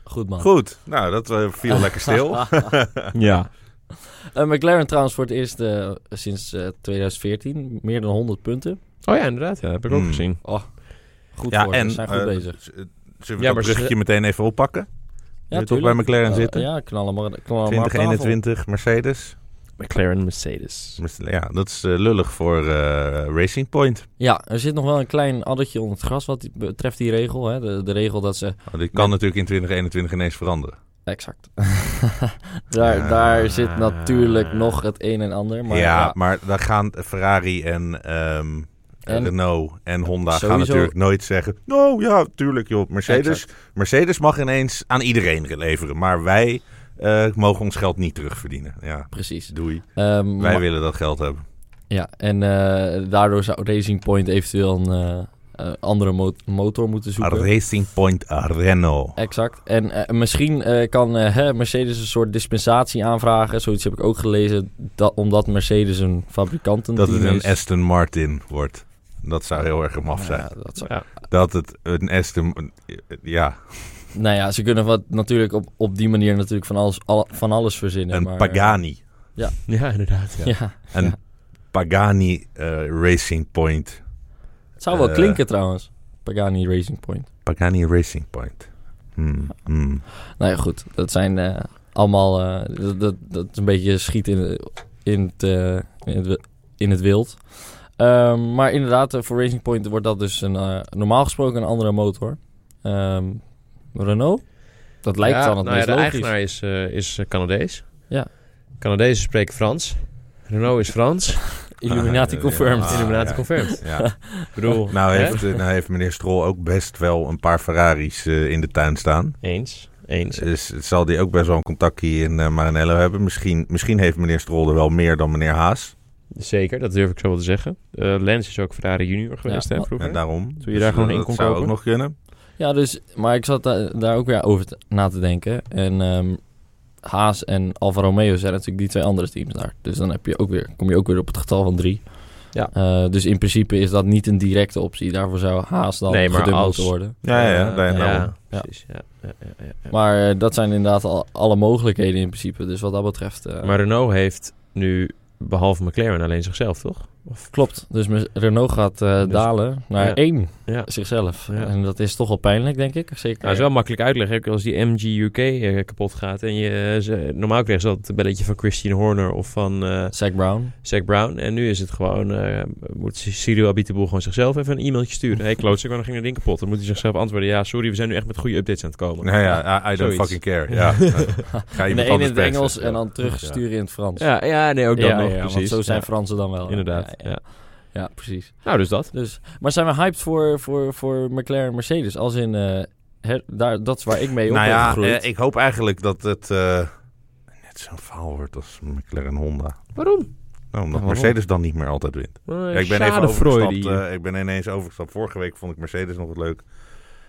S2: Goed man.
S3: Goed, nou, dat eh, viel lekker stil.
S1: Ja.
S2: Eh, McLaren trouwens voor het eerst eh, sinds eh, 2014 meer dan 100 punten.
S1: Oh ja, inderdaad. Ja, heb ik ook
S3: Hmm.
S1: gezien.
S2: Goed
S3: ja,
S2: voor ze,
S3: en...
S2: ze zijn goed
S3: eh,
S2: bezig.
S3: z- Zullen we
S1: Ja,
S3: dat
S1: maar ze-
S3: bruggetje meteen even oppakken?
S2: Ja,
S3: toch
S2: tuurlijk.
S3: bij McLaren
S2: Eh,
S3: zitten?
S2: Ja, knallen maar, knallen maar op tafel.
S3: 2021 Mercedes.
S1: McLaren Mercedes.
S3: Ja, dat is eh, lullig voor eh, Racing Point.
S2: Ja, er zit nog wel een klein addertje onder het gras wat die- betreft die regel. Hè? De, de regel dat ze
S3: Oh, dit kan natuurlijk in 2021 ineens veranderen.
S2: Exact. daar,
S3: Ja.
S2: daar zit natuurlijk nog het een en ander. Maar
S3: ja,
S2: ja,
S3: maar dan gaan Ferrari en, ehm,
S2: En?
S3: Renault en Honda gaan
S2: Sowieso-
S3: natuurlijk nooit zeggen... Nou ja, tuurlijk joh, Mercedes, Mercedes mag ineens aan iedereen leveren. Maar wij eh, mogen ons geld niet terugverdienen. Ja,
S2: precies.
S3: doei.
S2: Ehm,
S3: Wij
S2: maar-
S3: willen dat geld hebben.
S2: ja, en eh, daardoor zou Racing Point eventueel een eh, eh, andere mo- motor
S3: Ah,
S2: moeten zoeken.
S3: Racing Point Renault.
S2: Exact. En eh, misschien eh, kan eh, hè, Mercedes een soort dispensatie aanvragen. Zoiets heb ik ook gelezen. Dat, omdat Mercedes een fabrikantenteam
S3: Dat het een
S2: is.
S3: Aston Martin wordt. Dat zou heel erg maf zijn.
S2: Ja, dat zou-
S1: Ja.
S3: Dat het een Aston... Ja,
S2: Nou ja, ze kunnen wat, natuurlijk op, op die manier natuurlijk van alles, al- van alles verzinnen.
S3: een
S2: maar, eh,
S3: Pagani.
S1: Ja, inderdaad. Ja.
S2: Ja.
S3: Een
S2: Ja.
S3: Pagani eh, Racing Point
S2: Het zou wel
S3: Eh,
S2: klinken trouwens. Pagani Racing Point.
S3: Pagani Racing Point. Hmm, hmm.
S2: Nou ja, goed. Dat zijn eh, allemaal... eh, dat, dat, dat is een beetje schiet in, in, het, eh, in, het, wi- in het wild. Ehm, maar inderdaad, eh, voor Racing Point wordt dat dus een, eh, normaal gesproken een andere motor. Ehm, Renault? Dat lijkt
S1: Ja,
S2: dan het
S1: nou ja,
S2: meest
S1: de
S2: logisch.
S1: eigenaar is, eh, is eh, Canadees.
S2: Ja.
S1: Canadezen spreken Frans. Renault is Frans.
S2: Illuminati
S3: Ah,
S2: confirmed.
S3: ja.
S1: Illuminati
S3: ja.
S1: confirmed.
S3: Ja.
S1: Ik bedoel,
S3: nou,
S1: hè?
S3: heeft, eh, nou heeft meneer Strol ook best wel een paar Ferraris eh, in de tuin staan.
S1: Eens. Eens.
S3: Dus het zal die ook best wel een contactje in eh, Maranello hebben. Misschien, misschien heeft meneer Strol er wel meer dan meneer Haas.
S1: Zeker, dat durf ik zo wel te zeggen. Eh, Lens is ook Ferrari junior geweest,
S2: Ja.
S1: hè,
S3: En
S1: vroeger.
S3: daarom.
S1: je daar gewoon
S3: eh,
S1: in
S3: dat
S1: kon
S3: zou
S1: kopen?
S3: ook nog kunnen.
S2: Ja, dus, maar ik zat da- daar ook weer over te- na te denken. En ehm, Haas en Alfa Romeo zijn natuurlijk die twee andere teams daar. Dus dan heb je ook weer, kom je ook weer op het getal van drie.
S1: Ja.
S2: Eh, dus in principe is dat niet een directe optie. Daarvoor zou Haas dan
S1: Nee, maar
S2: gedubbeld
S1: als-
S2: worden.
S3: Ja, ja, ja,
S1: Eh,
S3: daar-
S1: ja,
S3: daarom.
S1: precies. Ja. Ja, ja, ja, ja.
S2: Maar eh, dat zijn inderdaad al, alle mogelijkheden in principe. Dus wat dat betreft... eh,
S1: Maar Renault heeft nu, behalve McLaren, alleen zichzelf, toch?
S2: Klopt. Dus mes- Renault gaat eh,
S1: Dus-
S2: dalen naar
S1: ja.
S2: één
S1: Ja.
S2: zichzelf.
S1: Ja.
S2: En dat is toch wel pijnlijk, denk ik. Zeker.
S1: Nou, dat is wel makkelijk uitleggen. Ook als die MG UK eh, kapot gaat. En je, eh, ze- normaal kreeg ze altijd een belletje van Christian Horner of van eh
S2: Zac Brown.
S1: Zack Brown. En nu is het gewoon, eh, moet Cyril Abiteboel gewoon zichzelf even een e-mailtje sturen. Hé, hey, klootzak, waarom ging dat ding kapot? Dan moet hij zichzelf antwoorden. Ja, sorry, we zijn nu echt met goede updates aan het komen.
S3: Nou ja, I, I don't
S1: Zoiets.
S3: fucking care. Ja. Ga je
S2: De een in het Engels en dan terugsturen in het Frans.
S1: Ja, ja nee, ook dat
S2: Ja,
S1: nog,
S2: ja, want
S1: precies.
S2: zo zijn
S1: Ja,
S2: Fransen dan wel.
S1: Inderdaad,
S2: Ja, ja.
S1: ja.
S2: Ja, precies.
S1: Nou, dus dat.
S2: Dus, maar zijn we hyped voor, voor, voor McLaren en Mercedes? Als in, eh, her- daar, dat is waar ik mee op
S3: Nou
S2: ben
S3: ja,
S2: gegroeid.
S3: eh, ik hoop eigenlijk dat het eh, net zo'n verhaal wordt als McLaren Honda.
S1: Waarom?
S3: Nou, omdat
S2: waarom?
S3: Mercedes dan niet meer altijd wint. Ja, ik ben even overgestapt.
S1: Schadefreude.
S3: eh, ik ben ineens overgestapt. Vorige week vond ik Mercedes nog wat leuk.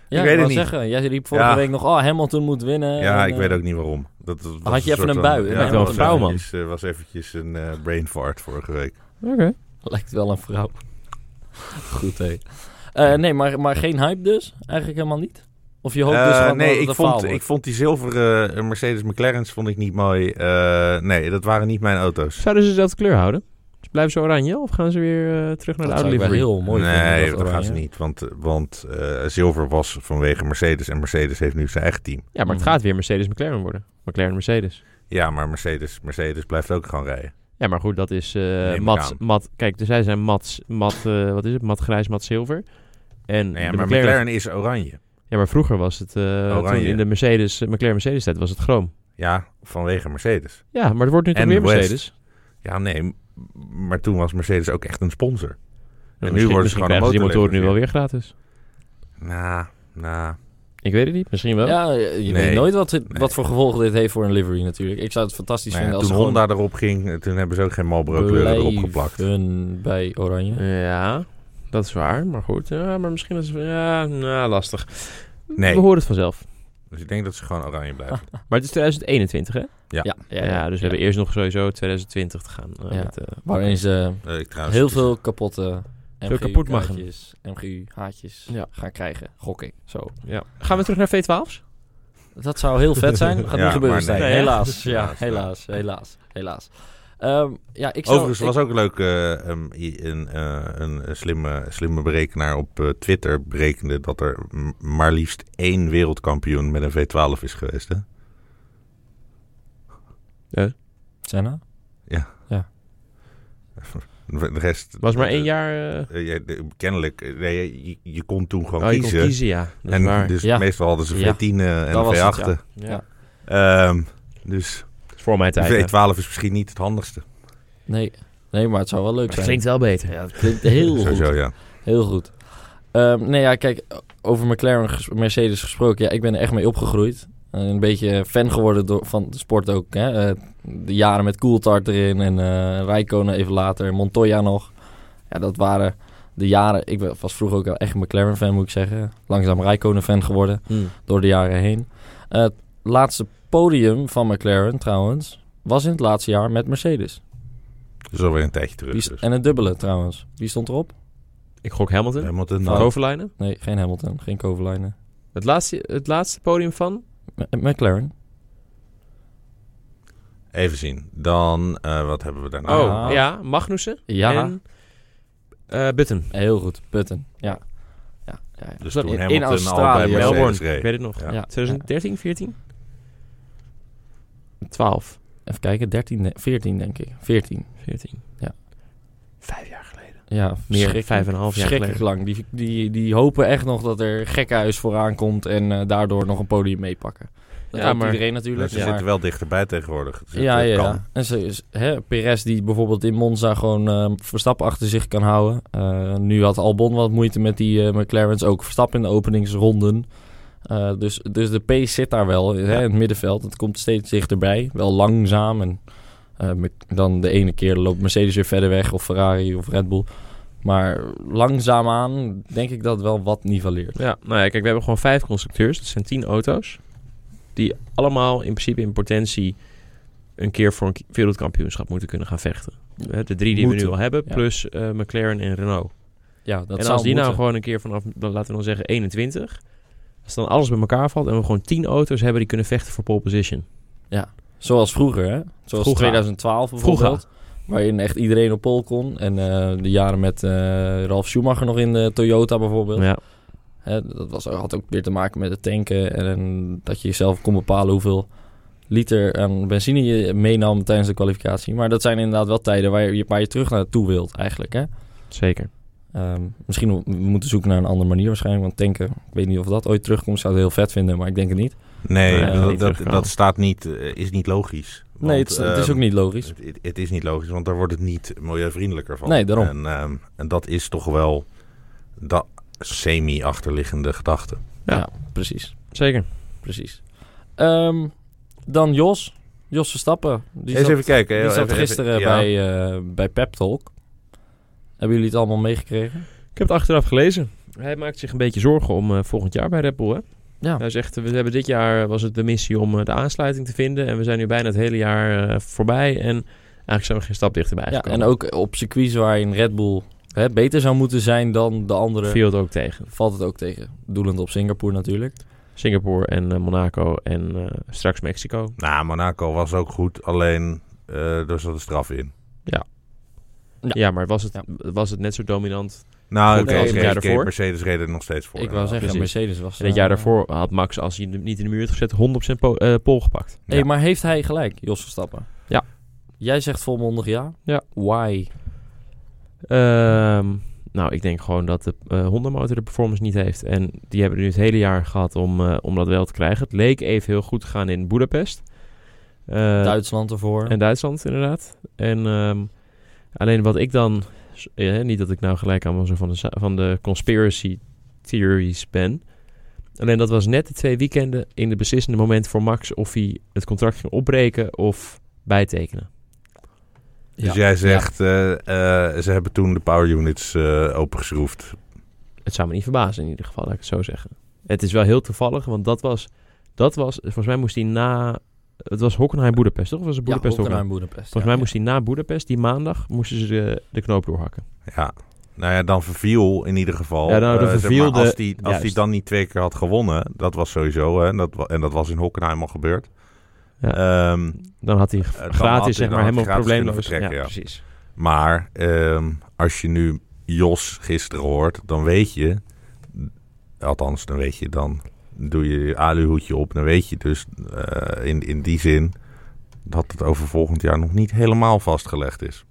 S2: ja,
S3: ik weet
S2: wou
S3: het niet.
S2: Zeggen, jij riep vorige
S3: Ja.
S2: week nog, oh, Hamilton moet winnen.
S3: ja,
S2: en,
S3: ik
S2: eh,
S3: weet ook niet waarom. Dat, dat was
S2: Had je even
S3: soort
S2: een
S3: van-
S2: bui, hè?
S1: Met wel een
S3: was
S1: vrouw, man.
S3: eventjes, eh, was eventjes een eh, brain fart vorige week.
S1: Oké.
S2: Lijkt wel een vrouw. Goed, hé. Eh, nee, maar, maar geen hype dus? Eigenlijk helemaal niet? Of je hoopt dus
S3: Eh,
S2: gewoon dat
S3: nee,
S2: het
S3: ik
S2: een faal
S3: vond,
S2: wordt?
S3: ik vond die zilveren eh, Mercedes McLaren's vond ik niet mooi. Eh, nee, dat waren niet mijn auto's.
S1: Zouden ze dezelfde kleur houden? Dus blijven ze oranje of gaan ze weer eh, terug naar
S2: dat
S1: de
S2: zou
S1: oude
S2: ik wel
S1: livery?
S2: heel mooi vinden.
S3: nee, dat,
S2: oranje.
S3: gaan ze niet. Want, want eh, zilver was vanwege Mercedes en Mercedes heeft nu zijn eigen team.
S1: Ja, maar het
S2: Mhm.
S1: gaat weer Mercedes-McLaren worden. McLaren-Mercedes.
S3: Ja, maar Mercedes, Mercedes blijft ook gewoon rijden.
S2: Mm,
S1: Ja, maar goed, dat is eh
S3: ik
S1: mat,
S3: aan.
S1: mat. Kijk, dus zij zijn mat, mat eh, wat is het? Mat grijs, mat zilver. En de
S3: Nee, Nou maar
S1: McLaren,
S3: McLaren, is oranje.
S1: Ja, maar vroeger was het eh, toen
S3: Oranje.
S1: in de Mercedes, McLaren Mercedes tijd was het chroom.
S3: Ja, vanwege Mercedes.
S1: Ja, maar het wordt nu toch
S3: En
S1: weer
S3: West.
S1: Mercedes.
S3: Ja, nee, m- maar toen was Mercedes ook echt een sponsor.
S1: En
S3: nu worden ze
S1: Nou, misschien
S3: gewoon
S1: krijgen ze die
S3: een
S1: motoren nu
S3: motorleverancier.
S1: wel weer gratis.
S3: Nou, nou.
S1: Ik weet het niet, misschien wel.
S2: Ja, je je
S3: Nee.
S2: weet nooit wat, dit-
S3: Nee.
S2: wat voor gevolgen dit heeft voor een livery natuurlijk. Ik zou het fantastisch
S3: Nou ja,
S2: vinden als
S3: toen
S2: ze gewoon
S3: Honda erop ging, eh, toen hebben ze ook geen Marlboro kleuren erop geplakt.
S2: blijven bij Oranje.
S1: Ja, dat is waar, maar goed. Ja, maar misschien is Ja, nou, lastig.
S3: Nee.
S1: We horen het vanzelf.
S3: Dus ik denk dat ze gewoon oranje blijven.
S2: Ah.
S1: Maar het is 2021, hè? Ja,
S2: Ja, ja,
S1: dus we
S2: ja.
S1: hebben eerst nog sowieso 2020 te gaan. eh,
S2: Ja.
S1: met, eh,
S2: Waarin ze
S3: Eh, ik trouwens,
S2: heel
S3: het is-
S2: veel kapotte
S1: Veel kapot mag.
S2: MGU-haatjes MGU -haatjes
S1: Ja.
S2: gaan krijgen. Gok ik. Zo.
S1: ja. Gaan we terug naar V12's?
S2: Dat zou heel vet zijn. Gaat
S3: Ja,
S2: niet gebeuren,
S3: maar nee.
S2: Stijn.
S1: Nee, hè?
S2: helaas, ja,
S3: Helaas, ja.
S2: helaas, helaas, helaas. Ehm, ja, ik zou,
S3: Overigens
S2: ik-
S3: was ook leuk eh, um, i- een, eh, een, een slimme, slimme berekenaar op eh, Twitter berekende dat er m- maar liefst één wereldkampioen met een V12 is geweest. Hè?
S2: Senna?
S3: De rest.
S1: Was maar één
S3: eh,
S1: jaar... eh,
S3: eh, ja, de- kennelijk, eh, nee, je, je kon toen gewoon
S1: Oh, je kon
S3: kiezen.
S1: kiezen, ja. Dat is
S3: en
S1: waar.
S3: dus
S2: Ja.
S3: meestal hadden ze
S2: Ja.
S3: V10 eh, en
S2: Dat was het,
S3: V8.
S2: ja.
S1: ja.
S2: Ja.
S3: Ehm, dus
S1: Dat is voor mijn
S3: de
S1: tijd. hè.
S3: V12 is misschien niet het handigste.
S2: Nee. nee, maar het zou wel leuk
S1: Maar het
S2: zijn.
S1: klinkt wel beter.
S2: Ja, het klinkt heel goed.
S3: Sowieso, ja.
S2: Heel goed. Ehm, nee, ja, kijk, over McLaren ges- Mercedes gesproken. Ja, ik ben er echt mee opgegroeid. Eh, een beetje fan geworden door, van de sport ook. Hè? Eh, de jaren met Coulthard erin en eh Rijkonen even later, Montoya nog. Ja, dat waren de jaren... Ik ben- was vroeger ook wel echt een McLaren-fan, moet ik zeggen. Langzaam Rijkonen-fan geworden
S1: Hm.
S2: door de jaren heen. Eh, het laatste podium van McLaren, trouwens, was in het laatste jaar met Mercedes.
S3: Dus alweer een tijdje terug.
S2: Wie st-
S3: Dus.
S2: en het dubbele, trouwens. Wie stond erop?
S1: Ik gok Hamilton.
S3: We moeten
S1: Van
S3: nou-
S1: Kovalainen.
S2: Nee, geen Hamilton, geen Kovalainen.
S1: Het laatste, het laatste podium van...
S2: M- McLaren.
S3: even zien. Dan, eh, wat hebben we daarna?
S1: Oh,
S2: Ah.
S1: ja. Magnussen.
S2: Ja,
S1: En eh, Button.
S2: heel goed. Putten. Ja. ja, ja, ja.
S3: Dus
S1: Dat-
S3: toen
S1: in
S3: Hamilton al bij
S2: Australië.
S3: Mercedes
S1: Melbourne.
S3: reed.
S1: Ik weet het nog.
S3: Ja.
S2: Ja,
S1: 2013, 14? 12,
S2: Even kijken, 13, de- 14 denk ik. 14.
S1: 14.
S2: Ja.
S1: Vijf jaar geleden.
S2: Ja,
S1: Meer,
S2: verschrikkelijk-
S1: vijf en een half jaar
S2: verschrikkelijk
S1: geleden.
S2: lang. Die, die, die hopen echt nog dat er gekkenhuis vooraan komt en eh, daardoor nog een podium meepakken. Dat
S1: Ja,
S2: hoopt
S1: maar-
S2: iedereen
S3: Maar
S2: natuurlijk.
S3: ze
S2: maar-
S3: zitten wel dichterbij tegenwoordig. Dus het-
S2: ja,
S3: het
S2: ja,
S3: kan.
S2: ja. En ze, is- hè, Perez die bijvoorbeeld in Monza gewoon eh, Verstappen achter zich kan houden. Eh, nu had Albon wat moeite met die eh, McLaren's ook Verstappen in de openingsronden. Eh, dus, dus de pace zit daar wel hè, in het middenveld. Het komt steeds dichterbij. Wel langzaam. En eh, Mc- dan de ene keer loopt Mercedes weer verder weg. Of Ferrari of Red Bull. Maar langzaamaan denk ik dat wel wat nivelleert.
S1: Ja, nou ja, kijk, we hebben gewoon vijf constructeurs. Dat zijn tien auto's. Die allemaal in principe in potentie een keer voor een k- wereldkampioenschap moeten kunnen gaan vechten. Hè, De drie die we
S2: Moeten.
S1: nu al hebben,
S2: Ja.
S1: plus eh, McLaren en Renault.
S2: Ja, dat
S1: en
S2: zou
S1: als die nou
S2: moeten.
S1: gewoon een keer vanaf, dan laten we dan zeggen 21. Als dan alles bij elkaar valt en we gewoon 10 auto's hebben die kunnen vechten voor pole position.
S2: Zoals vroeger, hè? Zoals
S1: Vroeger.
S2: 2012 bijvoorbeeld. Waarin echt iedereen op pol kon. En eh, de jaren met eh, Ralf Schumacher nog in de Toyota bijvoorbeeld.
S1: Ja.
S2: Hè, dat was, had ook weer te maken met het tanken. En, en dat je zelf kon bepalen hoeveel liter aan benzine je meenam tijdens de kwalificatie. Maar dat zijn inderdaad wel tijden waar je, waar je terug naartoe wilt eigenlijk, hè?
S1: Zeker.
S2: Ehm, misschien mo- we moeten zoeken naar een andere manier waarschijnlijk. Want tanken, ik weet niet of dat ooit terugkomt. Zou het heel vet vinden, maar ik denk het niet.
S3: Nee,
S1: Nee,
S3: dat,
S1: niet
S3: dat,
S1: terugkomen.
S3: dat staat niet, eh, is niet logisch.
S2: nee,
S3: Want,
S2: het, is- het is
S3: ehm,
S2: ook niet logisch.
S3: Het, het- het is niet logisch, want daar wordt het niet milieuvriendelijker van.
S2: Nee, daarom.
S3: En, ehm, en dat is toch wel dat semi-achterliggende gedachte.
S1: Ja.
S2: ja precies.
S1: Zeker.
S2: precies. Ehm, dan Jos. Jos Verstappen. Die
S3: Eens
S2: zat,
S3: even kijken.
S2: die
S3: heel
S2: zat
S3: even-
S2: gisteren
S3: even- ja.
S2: bij, eh, bij Pep Talk. Hebben jullie het allemaal meegekregen?
S1: Ik heb het achteraf gelezen. Hij maakt zich een beetje zorgen om eh, volgend jaar bij Red Bull. Hè?
S2: Ja.
S1: Hij zegt, eh, we hebben dit jaar was het de missie om eh, de aansluiting te vinden. En we zijn nu bijna het hele jaar eh, voorbij. En eigenlijk zijn we geen stap dichterbij
S2: ja
S1: gekomen.
S2: en ook op circuits waarin Red Bull hè, beter zou moeten zijn dan de andere...
S1: viel het ook tegen.
S2: Valt het ook tegen. Doelend op Singapore natuurlijk.
S1: Singapore en eh, Monaco en eh, straks Mexico.
S3: Nou, Monaco was ook goed, alleen eh er zat een straf in.
S1: Ja,
S2: Ja.
S1: maar was het,
S2: Ja.
S1: was het net zo dominant?
S3: Nou,
S1: Goed, eh,
S3: oké,
S1: nee,
S3: oké,
S1: het jaar
S3: oké,
S1: daarvoor.
S3: Mercedes reed er nog steeds voor. dus-
S2: Ik wou zeggen,
S1: precies.
S2: Mercedes was...
S1: En het
S2: eh,
S1: jaar daarvoor had Max, als hij hem niet in de muur had gezet, 100% po eh, pol gepakt.
S2: Hey,
S3: Ja.
S2: Maar heeft hij gelijk, Jos Verstappen?
S1: Ja.
S2: Jij zegt volmondig ja?
S1: Ja.
S2: Why?
S1: Ehm, nou, ik denk gewoon dat de eh, Honda-motor de performance niet heeft. En die hebben nu het hele jaar gehad om, eh, om dat wel te krijgen. Het leek even heel goed te gaan in Budapest. Eh,
S2: Duitsland ervoor.
S1: en Duitsland, inderdaad. En ehm, alleen wat ik dan... s- eh, niet dat ik nou gelijk allemaal zo van de, za- van de conspiracy theories ben. Alleen dat was net de twee weekenden in de beslissende moment voor Max... of hij het contract ging opbreken of bijtekenen.
S2: Ja.
S3: Dus jij zegt, eh, eh, ze hebben toen de power units eh, opengeschroefd.
S1: Het zou me niet verbazen in ieder geval, laat ik het zo zeggen. Het is wel heel toevallig, want dat was... Dat was volgens mij moest hij na... Het was Hockenheim Boedapest, toch? Of was het
S2: Ja,
S1: Boedapest Hockenheim?
S2: Hockenheim, Boedapest.
S1: Volgens mij moest hij na Boedapest, die maandag, moesten ze de, de knoop doorhakken.
S3: Ja. Nou ja, dan verviel in ieder geval.
S1: Ja, nou, dan
S3: eh, zeg maar,
S1: verviel de-
S3: als die, als die
S1: Juist.
S3: dan niet twee keer had gewonnen, dat was sowieso, hè, en, dat, wa- en dat was in Hockenheim al gebeurd.
S1: Ja.
S3: Ehm,
S1: Dan had hij
S3: Eh, dan had hij-
S1: gratis, zeg
S3: dan
S1: maar,
S3: had
S1: helemaal
S3: hij gratis kunnen
S1: probleemloos.
S3: vertrekken, ja.
S1: precies.
S3: maar ehm, als je nu Jos gisteren hoort, dan weet je, althans, dan weet je, dan doe je je aluhoedje op. Dan weet je dus eh, in, in die zin dat het over volgend jaar nog niet helemaal vastgelegd is.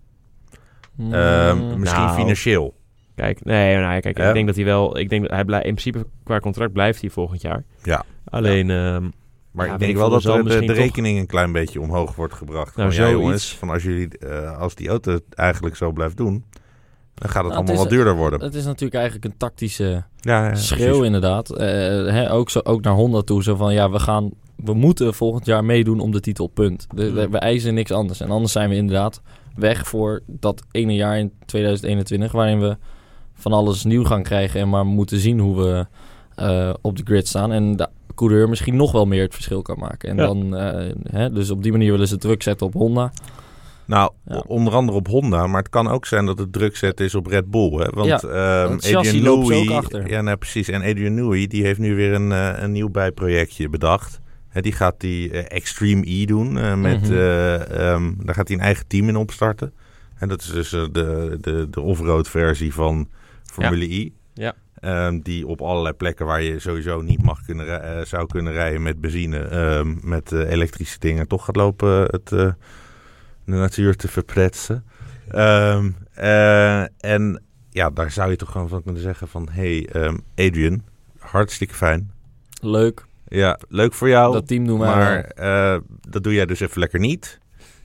S2: Mm,
S3: Ehm, misschien
S1: nou.
S3: financieel.
S1: Kijk, nee, nou, ja, kijk,
S3: Ja.
S1: ik denk dat hij wel... Ik denk dat hij blij, in principe, qua contract blijft hij volgend jaar.
S3: Ja.
S1: Alleen, ehm,
S3: Maar
S1: Ja, weet
S3: ik denk
S1: ik
S3: wel
S1: veel,
S3: dat
S1: er zal
S3: de, de, de
S1: misschien toch-
S3: rekening een klein beetje omhoog wordt gebracht.
S1: Nou,
S3: van, ja,
S1: zoiets.
S3: jongens, van als, jullie, eh, als die auto het eigenlijk zo blijft doen, dan gaat het
S2: Nou, het
S3: allemaal
S2: is-
S3: wat duurder worden.
S2: Het is natuurlijk eigenlijk een tactische
S3: ja, ja,
S2: schreeuw
S3: precies.
S2: inderdaad. Eh, hè, ook, zo, ook naar Honda toe. Zo van, ja, we, gaan, we moeten volgend jaar meedoen om de titel, punt. De- de-
S3: Mm.
S2: we eisen niks anders. En anders zijn we inderdaad weg voor dat ene jaar in 2021... waarin we van alles nieuw gaan krijgen... en maar moeten zien hoe we eh, op de grid staan. En de coureur misschien nog wel meer het verschil kan maken. En
S1: Ja.
S2: dan, eh, hè, dus op die manier willen ze druk zetten op Honda.
S3: Nou,
S2: Ja.
S3: o- onder andere op Honda, maar het kan ook zijn dat het druk zetten is op Red Bull. Hè? Want
S2: Ja,
S3: ehm,
S2: want het
S3: Adrian
S2: chassis loopt ze
S3: Newey,
S2: ook achter.
S3: ja, nou, precies. En Adrian Newey die heeft nu weer een, eh, een nieuw bijprojectje bedacht. Hè, die gaat die eh, Extreme E doen. eh, met,
S2: Mhm.
S3: eh, ehm, daar gaat hij een eigen team in opstarten. En dat is dus eh, de, de, de offroad versie van Formule E.
S1: Ja.
S3: Ehm, die op allerlei plekken waar je sowieso niet mag kunnen, rij- eh, zou kunnen rijden met benzine, ehm, met eh, elektrische dingen, toch gaat lopen het, eh, de natuur te verpretsen. Ehm, eh, en ja, daar zou je toch gewoon van kunnen zeggen van... Hé, hey, ehm, Adrian, hartstikke fijn.
S2: Leuk,
S3: Ja, leuk voor jou.
S2: dat team doen wij
S3: Oh, maar
S2: wel.
S3: eh, dat doe jij dus even lekker niet.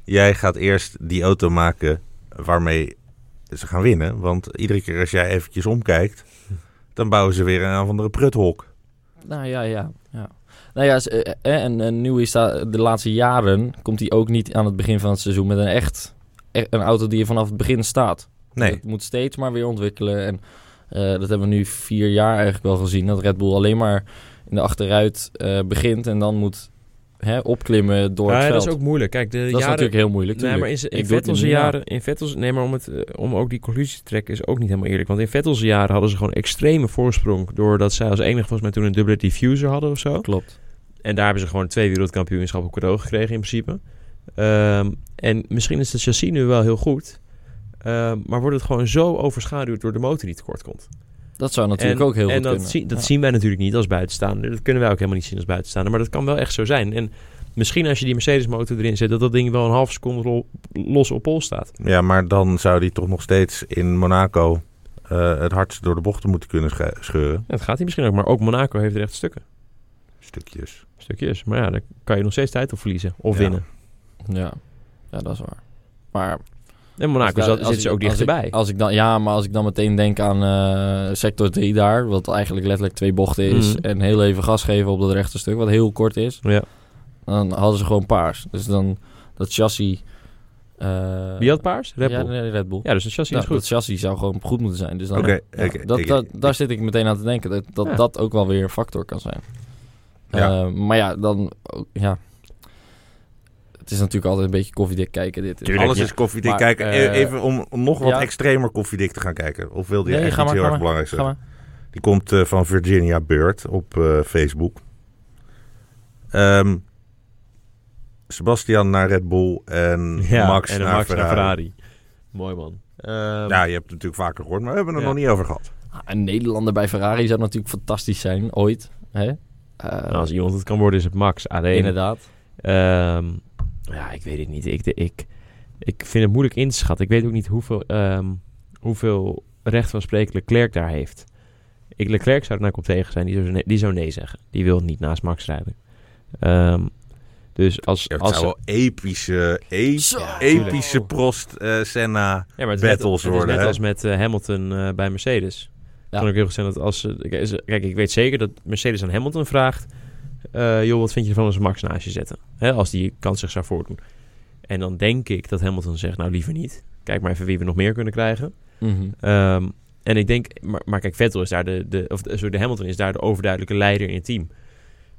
S3: Jij gaat eerst die auto maken waarmee ze gaan winnen. Want iedere keer als jij eventjes omkijkt... dan bouwen ze weer een of andere pruthok.
S2: Nou ja, ja. ja. Nou ja, s- eh, eh, en, en nu is dat, de laatste jaren komt hij ook niet aan het begin van het seizoen met een echt e- een auto die er vanaf het begin staat.
S3: Nee,
S2: Het moet steeds maar weer ontwikkelen. En eh, dat hebben we nu vier jaar eigenlijk wel gezien. Dat Red Bull alleen maar in de achteruit eh, begint en dan moet hè, opklimmen door
S1: Ja,
S2: het veld.
S1: dat is ook moeilijk. Kijk, de
S2: Dat is
S1: jaren...
S2: natuurlijk heel moeilijk.
S1: Nee,
S2: tuurlijk.
S1: maar in, z- in
S2: Ik doe het
S1: Vettel's
S2: niet na.
S1: jaren, in Vettel's, nee, maar om, het, eh, om ook die conclusie te trekken is ook niet helemaal eerlijk. Want in Vettel's jaren hadden ze gewoon extreme voorsprong. Doordat zij als enige volgens mij toen een dubbele diffuser hadden of zo.
S2: Klopt.
S1: En daar hebben ze gewoon twee wereldkampioenschappen cadeau gekregen in principe. Ehm, en misschien is de chassis nu wel heel goed. ehm, maar wordt het gewoon zo overschaduwd door de motor die tekort komt.
S2: Dat zou natuurlijk
S1: en,
S2: ook heel
S1: en
S2: goed
S1: dat,
S2: kunnen.
S1: zie- dat
S2: Ja.
S1: zien wij natuurlijk niet als buitenstaander. Dat kunnen wij ook helemaal niet zien als buitenstaander. Maar dat kan wel echt zo zijn. En misschien als je die Mercedes motor erin zet... dat dat ding wel een half seconde lo- los op pol staat.
S3: Ja, maar dan zou die toch nog steeds in Monaco eh, het hardst door de bochten moeten kunnen sche- scheuren.
S1: Ja, dat gaat hij misschien ook. Maar ook Monaco heeft er echt stukken.
S3: Stukjes.
S1: Stukjes. Maar ja, daar kan je nog steeds tijd op verliezen. Of
S3: Ja.
S1: winnen.
S2: Ja. ja, dat is waar. Maar
S1: En Monaco zat,
S2: als daar- als
S1: zit dus ze
S2: ik-
S1: ook
S2: als ik-
S1: dichterbij.
S2: Als ik dan, ja, maar als ik dan meteen denk aan eh, sector 3 daar, wat eigenlijk letterlijk twee bochten is,
S1: Mhm.
S2: en heel even gas geven op dat rechte stuk, wat heel kort is,
S1: Ja.
S2: dan hadden ze gewoon paars. Dus dan dat chassis. eh,
S1: Wie had paars? Red
S2: Ja,
S1: Bull.
S2: nee, Red Bull.
S1: Ja, dus de chassis
S2: Nou,
S1: is goed.
S2: Dat chassis zou gewoon goed moeten zijn. Dus dan,
S3: Oké,
S2: ja,
S3: oké,
S2: dat,
S3: ik-
S2: dat,
S3: ik-
S2: daar zit ik meteen aan te denken. Dat dat,
S1: Ja.
S2: dat ook wel weer een factor kan zijn.
S3: Ja.
S2: Eh, maar ja, dan... ook- Ja. Het is natuurlijk altijd een beetje koffiedik kijken dit.
S1: Tuurlijk,
S3: Alles
S1: ja.
S3: is koffiedik.
S2: Maar,
S3: Kijk, e-
S2: eh,
S3: even om, om nog wat
S2: ja.
S3: extremer koffiedik te gaan kijken. Of wilde je
S2: Nee,
S3: echt
S2: ga
S3: iets
S2: maar,
S3: heel
S2: ga
S3: erg
S2: maar,
S3: belangrijks
S2: Ga
S3: zeggen?
S2: maar.
S3: Die komt eh, van Virginia Bird op eh, Facebook. Ehm, Sebastian naar Red Bull en Max
S1: en een
S3: naar
S1: Max
S3: Ferrari.
S1: naar Ferrari. Mooi man. Ehm,
S3: Ja, je hebt het natuurlijk vaker gehoord, maar we hebben het
S1: Ja.
S3: nog niet over gehad.
S2: Ah, Een Nederlander bij Ferrari zou natuurlijk fantastisch zijn, ooit. Hè? Eh,
S1: nou, als iemand het kan worden is het Max. Alleen,
S2: inderdaad.
S1: ehm, ja, ik weet het niet. Ik, ik, ik vind het moeilijk in te schatten. Ik weet ook niet hoeveel, ehm, hoeveel recht van spreken Leclerc daar heeft. Ik, Leclerc zou er nou op tegen zijn. Die zou, nee, die zou nee zeggen. Die wil niet naast Max rijden. Ehm, dus als...
S3: Ja, het
S1: als
S3: zou wel epische, e-
S2: Zo. Ja, tuurlijk.
S3: epische Prost, eh, Senna.
S1: Ja, maar het is net-
S3: battles
S1: het is
S3: worden,
S1: net
S3: hè?
S1: als met eh, Hamilton eh, bij Mercedes.
S2: Ja.
S1: Kan ook heel goed zijn dat als... ze- kijk, is- kijk, ik weet zeker dat Mercedes aan Hamilton vraagt... eh, joh, wat vind je ervan als we Max naast je zetten? Hè, als die kans zich zou voordoen. En dan denk ik dat Hamilton zegt, nou liever niet. Kijk maar even wie we nog meer kunnen krijgen.
S2: Mhm.
S1: Ehm, en ik denk... Maar, maar kijk, Vettel is daar de... de of eh, sorry, de Hamilton is daar de overduidelijke leider in het team.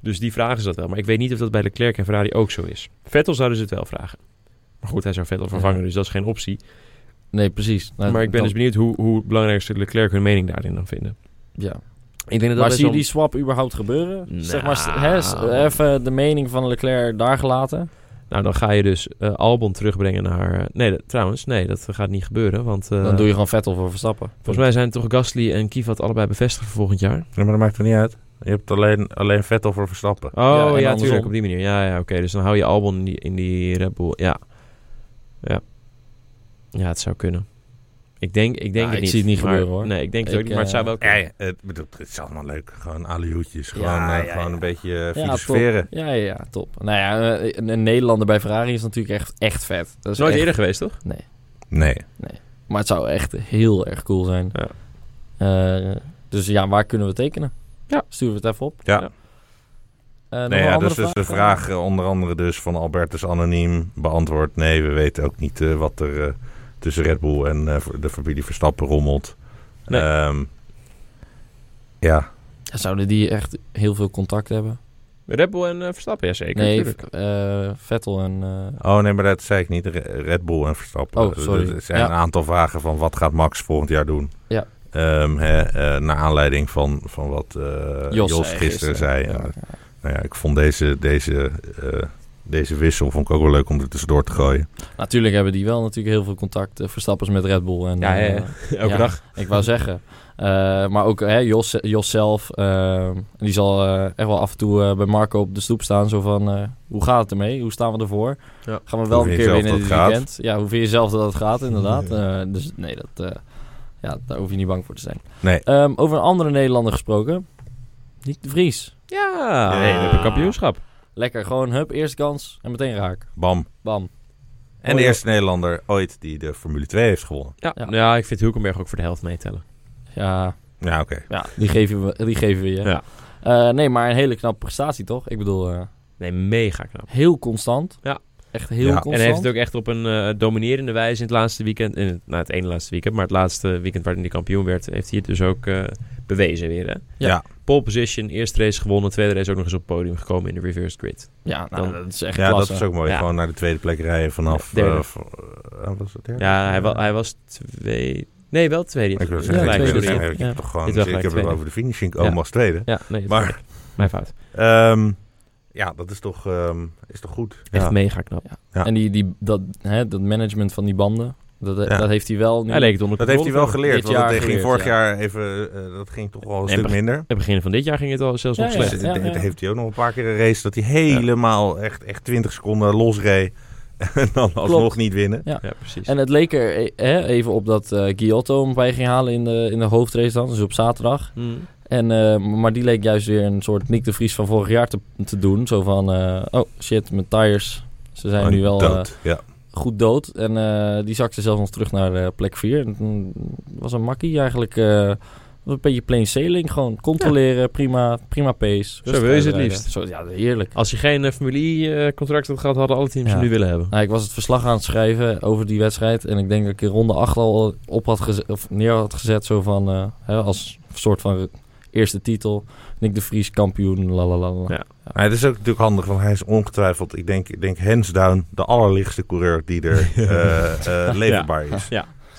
S1: Dus die vragen ze dat wel. Maar ik weet niet of dat bij Leclerc en Ferrari ook zo is. Vettel zouden ze het wel vragen. Maar goed, hij zou Vettel vervangen,
S2: Ja.
S1: dus dat is geen optie.
S2: Nee, precies. Nou,
S1: Maar ik ben
S2: dat-
S1: dus benieuwd hoe, hoe belangrijk ze Leclerc hun mening daarin dan vinden.
S2: Ja.
S1: Ik denk dat
S2: Maar zie je die swap überhaupt gebeuren? Zeg maar, st- hè, s-
S1: Nou.
S2: even de mening van Leclerc daar gelaten.
S1: Nou, dan ga je dus eh, Albon terugbrengen naar... eh, nee, dat- trouwens, nee, dat gaat niet gebeuren. Want eh,
S2: Dan doe je gewoon Vettel voor Verstappen.
S1: volgens mij zijn toch Gasly en Kivat allebei bevestigd voor volgend jaar.
S3: Ja, maar dat maakt er niet uit. Je hebt alleen, alleen Vettel voor Verstappen.
S1: Oh,
S2: en
S1: ja,
S2: andersom.
S1: natuurlijk, op die manier. Ja, ja oké. Dus dan hou je Albon in die, in die Red Bull. Ja. Ja. Ja, het zou kunnen. Ik denk, ik denk
S2: Ah,
S1: het
S2: ik
S1: niet.
S2: zie het niet
S1: maar-
S2: gebeuren, hoor.
S1: Nee, ik denk het
S2: Ik, eh,
S1: ook niet. Maar het zou wel
S3: Ja,
S1: kunnen.
S3: ja, het, bedoel, het is allemaal leuk. Gewoon alihoedjes. Gewoon,
S2: Ja,
S3: eh,
S2: ja,
S3: gewoon
S2: ja.
S3: een beetje eh,
S2: Ja,
S3: filosoferen.
S2: Ja, ja, ja, top. Nou ja, eh, een, een Nederlander bij Ferrari is natuurlijk echt, echt vet. Dat
S1: is
S2: is
S1: nooit
S2: echt-
S1: eerder geweest, toch?
S3: nee.
S2: Maar het zou echt heel erg cool zijn.
S1: Ja.
S2: Eh, dus ja, waar kunnen we tekenen?
S1: Ja.
S2: Sturen we het even op.
S3: Ja.
S1: Ja.
S2: Eh, nog
S3: Nee,
S2: een
S3: ja,
S2: andere
S3: dus, dus de vraag eh, onder andere dus van Albertus Anoniem beantwoord. Nee, we weten ook niet eh, wat er eh, tussen Red Bull en eh, de familie Verstappen rommelt.
S1: Nee.
S3: Ehm, ja,
S2: Zouden die echt heel veel contact hebben?
S1: Red Bull en eh, Verstappen, ja zeker.
S2: nee,
S1: tuurlijk.
S2: eh, Vettel en... eh,
S3: oh nee, maar dat zei ik niet. Re- Red Bull en Verstappen.
S2: Oh, sorry.
S3: Er zijn
S2: Ja.
S3: een aantal vragen van wat gaat Max volgend jaar doen?
S2: Ja.
S3: Ehm, hè, eh, naar aanleiding van, van wat eh, Jos,
S2: zei
S3: gisteren, zei.
S2: Ja,
S3: En,
S2: ja.
S3: nou ja, ik vond deze, deze, eh, deze wissel vond ik ook wel leuk om er tussendoor te gooien.
S2: Natuurlijk hebben die wel natuurlijk heel veel contact. eh, Verstappers met Red Bull. En,
S1: Ja, ja, ja.
S2: eh,
S1: Elke
S2: ja,
S1: dag.
S2: Ik wou zeggen. Eh, maar ook hè, Jos, Jos zelf, eh, die zal eh, echt wel af en toe eh, bij Marco op de stoep staan. Zo van, eh, hoe gaat het ermee? Hoe staan we ervoor?
S1: Ja.
S2: Gaan we wel
S3: Hoe
S2: een
S3: vind je
S2: keer
S3: zelf
S2: winnen dit
S3: dat het gaat?
S2: weekend? Ja, hoe vind je zelf dat het gaat, inderdaad. Eh, dus nee, dat, eh, ja, daar hoef je niet bang voor te zijn.
S3: Nee.
S2: Ehm, over een andere Nederlander gesproken. Nick de Vries.
S1: Ja,
S3: Ja.
S1: nee, we hebben kampioenschap.
S2: Lekker, gewoon hup, eerste kans en meteen raak.
S3: Bam.
S2: Bam.
S3: En de eerste Nederlander ooit die de Formule 2 heeft gewonnen.
S1: Ja.
S2: Ja.
S1: Ja. ik vind Hulkenberg ook voor de helft meetellen.
S2: Ja,
S3: Ja, oké.
S2: ja die, geven we, die geven we je.
S1: Ja.
S2: Eh, nee, maar een hele knappe prestatie, toch? Ik bedoel... eh,
S1: Nee, mega knap.
S2: heel constant.
S1: Ja.
S2: echt heel
S3: Ja.
S2: constant.
S1: En hij heeft het ook echt op een eh, dominerende wijze in het laatste weekend, in het, nou, het ene laatste weekend, maar het laatste weekend waarin hij kampioen werd, heeft hij het dus ook eh, bewezen weer. Hè?
S2: Ja.
S3: Ja.
S1: Pole position, eerste race gewonnen, tweede race ook nog eens op het podium gekomen in de reverse grid.
S2: Ja, nou,
S1: Dan-
S2: dat is echt
S3: Ja,
S2: klasse.
S3: dat is ook mooi.
S1: Ja.
S3: Gewoon naar de tweede plek rijden vanaf...
S1: Ja, derde.
S3: eh, van- eh, was het derde?
S1: Ja, hij, wa- hij was twee, nee wel tweede.
S3: Ik wil
S1: Ja,
S3: zeggen,
S2: Ja,
S3: ik,
S1: gelijk,
S3: wil
S2: tweede.
S1: sorry.
S3: zeggen, ik
S2: Ja.
S3: heb toch gewoon...
S1: Dit was
S3: Ik heb
S1: gelijk
S3: het
S1: tweede.
S3: over de finishing
S1: Ja.
S3: komen als tweede.
S1: Ja, nee, het-
S3: Maar
S1: mijn fout.
S3: ehm, ja, dat is toch, ehm, is toch goed.
S1: Echt
S3: Ja.
S1: mega knap.
S3: Ja.
S2: En die, die, dat, hè, dat management van die banden, dat, eh,
S3: Ja.
S2: dat heeft hij wel nu.
S1: Hij leek het onder
S3: Dat heeft hij
S1: controle
S3: wel
S1: te hebben.
S2: Dit
S3: geleerd. Want
S2: jaar
S3: dat ging
S2: geleerd,
S3: vorig
S2: ja.
S3: jaar even... eh, dat ging toch wel een
S1: En
S3: stuk
S1: begin-
S3: minder.
S1: Aan het begin van dit jaar ging het al zelfs
S2: Ja,
S1: nog
S2: ja.
S1: slecht.
S3: Dus het- het
S2: ja.
S3: heeft hij ook nog een paar keer een race dat hij helemaal echt, echt 20 seconden losreed. En dan alsnog niet winnen.
S1: Ja, precies.
S2: En het leek er eh, hè, even op dat eh Giotto hem bij ging halen in de, in de hoofdrace dan, dus op zaterdag.
S1: Hmm.
S2: En, eh, maar die leek juist weer een soort Nick de Vries van vorig jaar te, te doen. Zo van, eh, oh shit, mijn tires, ze zijn
S1: Oh,
S3: Gewoon
S2: nu wel eh,
S3: dood. ja.
S2: goed dood. En eh, die zakte zelfs nog terug naar eh, plek 4. En toen was een makkie eigenlijk. eh, een beetje plain sailing, gewoon controleren, prima, prima pace.
S1: wil je ze het
S2: uitrijden.
S1: liefst.
S2: Zo, ja, heerlijk.
S1: Als hij geen eh, Formule E-contract had gehad, hadden alle teams
S2: Ja.
S1: hem nu willen hebben.
S2: Nou, ik was het verslag aan het schrijven over die wedstrijd. En ik denk dat ik in ronde 8 al op had geze- of neer had gezet. Zo van, eh, hè, als soort van eerste titel. Nick de Vries kampioen, la la la, la.
S1: Ja.
S3: Maar het is ook natuurlijk handig, want hij is ongetwijfeld, ik denk, ik denk hands down, de allerlichtste coureur die er eh, eh, leverbaar is.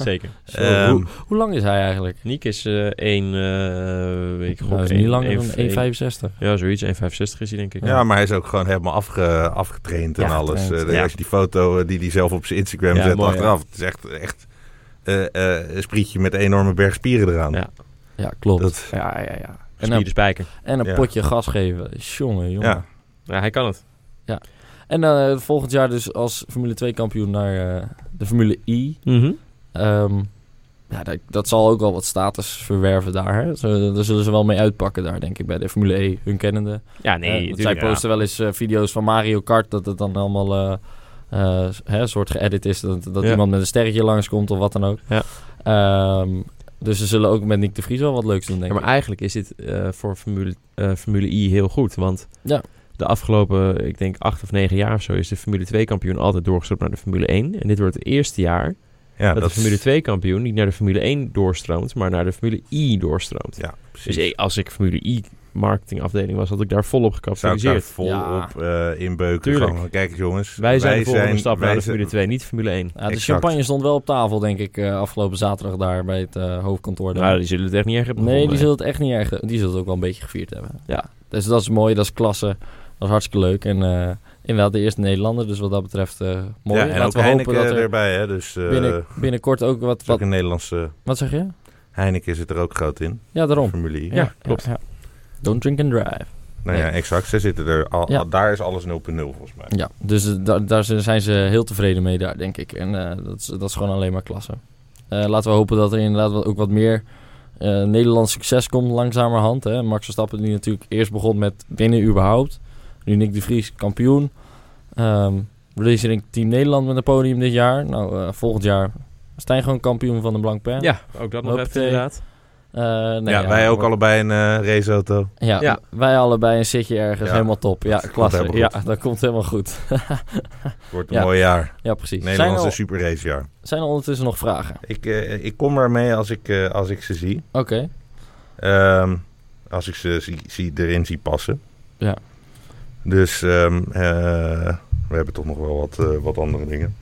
S1: Zeker.
S2: Zo,
S3: Ehm,
S2: hoe, hoe lang is hij eigenlijk? Nou,
S1: Niek is eh 1, eh ik gok
S2: Hij is
S1: één-
S2: niet langer
S1: één-
S2: dan
S1: één-
S2: 1,65.
S1: Ja, zoiets. 1,65 is hij denk ik.
S3: Ja, maar hij is ook gewoon helemaal afge, afgetraind en
S2: Ja,
S3: alles.
S2: getraind.
S3: Eh,
S1: Ja.
S3: Als je die foto eh, die hij zelf op zijn Instagram
S1: Ja,
S3: zet
S1: mooi,
S3: achteraf, het is echt, echt eh, eh, een sprietje met een enorme berg spieren eraan.
S1: Ja.
S2: Ja, klopt.
S3: Dat-
S2: ja, ja, ja. En
S1: En
S2: een,
S1: de spijker.
S2: en een
S3: Ja.
S2: potje gas geven. Jongen, jongen.
S3: Ja.
S1: Ja, hij kan het.
S2: En eh, volgend jaar dus als Formule 2 kampioen naar eh, de Formule I. Ehm, ja, dat, dat zal ook wel wat status verwerven daar. Hè? Zo, daar zullen ze wel mee uitpakken daar, denk ik, bij de Formule E, hun kennende.
S1: Ja,
S2: Eh,
S1: nee.
S2: want zij
S1: tuurlijk, ja.
S2: posten wel eens eh, video's van Mario Kart, dat het dan allemaal eh eh, hè, soort geëdit is. Dat, dat
S1: Ja.
S2: iemand met een sterretje langskomt of wat dan ook.
S1: Ja.
S2: Ehm, dus ze zullen ook met Nick de Vries wel wat leuks doen, denk
S1: Ja, maar
S2: ik.
S1: eigenlijk is dit eh, voor Formule, eh, Formule I heel goed. Want
S2: Ja.
S1: de afgelopen, ik denk, acht of negen jaar of zo... is de Formule 2-kampioen altijd doorgestroomd naar de Formule 1. En dit wordt het eerste jaar
S3: Ja,
S1: dat, de
S3: dat
S1: Formule
S3: is-
S1: 2-kampioen... niet naar de Formule 1 doorstroomt, maar naar de Formule I doorstroomt.
S3: Ja,
S1: dus
S3: precies.
S1: eh, als ik Formule I marketingafdeling was... had ik daar volop
S3: Zou ik daar
S1: gecapitaliseerd.
S3: vol
S2: Ja.
S3: op eh inbeuken.
S1: Tuurlijk.
S3: Gewoon, Kijk eens jongens.
S1: Wij Oh, zijn de volgende
S3: zijn-
S1: stap
S3: wij
S1: naar de
S3: zijn-
S1: Formule 2, niet Formule 1.
S2: Ja, de
S3: Exact.
S2: champagne stond wel op tafel, denk ik, eh, afgelopen zaterdag daar bij het eh, hoofdkantoor. daar.
S1: Nou, die zullen het echt niet erg hebben
S2: Nee,
S1: gevonden,
S2: die
S1: hè?
S2: zullen het echt niet erg. Die zullen het ook wel een beetje gevierd hebben.
S1: Ja.
S2: Dus dat is mooi, dat is klasse. Dat is hartstikke leuk. En eh, inderdaad, de eerste Nederlander. Dus wat dat betreft, eh, mooi.
S3: Ja, en ook
S2: Laten we
S3: Heineken
S2: hopen dat er
S3: erbij, hè. Dus eh
S2: binnen, binnenkort ook wat.
S3: is ook
S2: Wat,
S3: een Nederlandse...
S2: wat zeg je?
S3: Heineken zit er ook groot in.
S2: Ja, daarom.
S3: Formule I.
S1: Ja, klopt.
S2: ja. Don't drink and drive.
S3: Nou ja, exact. Ze zitten er al,
S2: Ja.
S3: al- daar is alles 0.0 volgens mij.
S2: Ja, dus eh, daar- daar zijn- zijn ze heel tevreden mee daar, denk ik. En eh, dat, is, dat is gewoon alleen maar klasse. Eh, laten we hopen dat er inderdaad wel- ook wat meer eh, Nederlands succes komt langzamerhand. Hè. Max Verstappen die natuurlijk eerst begon met winnen überhaupt. Nu Nick de Vries kampioen. Ehm Racing Team Nederland met een podium dit jaar. Nou, eh, volgend jaar Stijn gewoon kampioen van de Blank Pen.
S1: Ja, ook dat nog
S2: Hoppatee.
S1: even inderdaad.
S2: Eh, nee,
S3: ja, wij ook
S2: wordt-
S3: allebei een eh, raceauto.
S2: Ja,
S1: Ja.
S2: wij allebei een zitje ergens.
S3: Ja.
S2: Helemaal top. Ja,
S3: komt
S2: klasse.
S3: helemaal
S2: Ja,
S3: goed.
S2: dat komt helemaal goed.
S3: Wordt een
S2: Ja.
S3: mooi jaar.
S2: ja, precies. Zijn
S3: Nederlandse
S2: er,
S3: superracejaar.
S2: zijn er ondertussen nog vragen?
S3: Ik, eh, ik kom ermee als ik, eh, als ik ze zie.
S2: Oké.
S3: Ehm, als ik ze zie, zie, erin zie passen.
S2: Ja.
S3: Dus ehm, eh, we hebben toch nog wel wat, eh, wat andere dingen.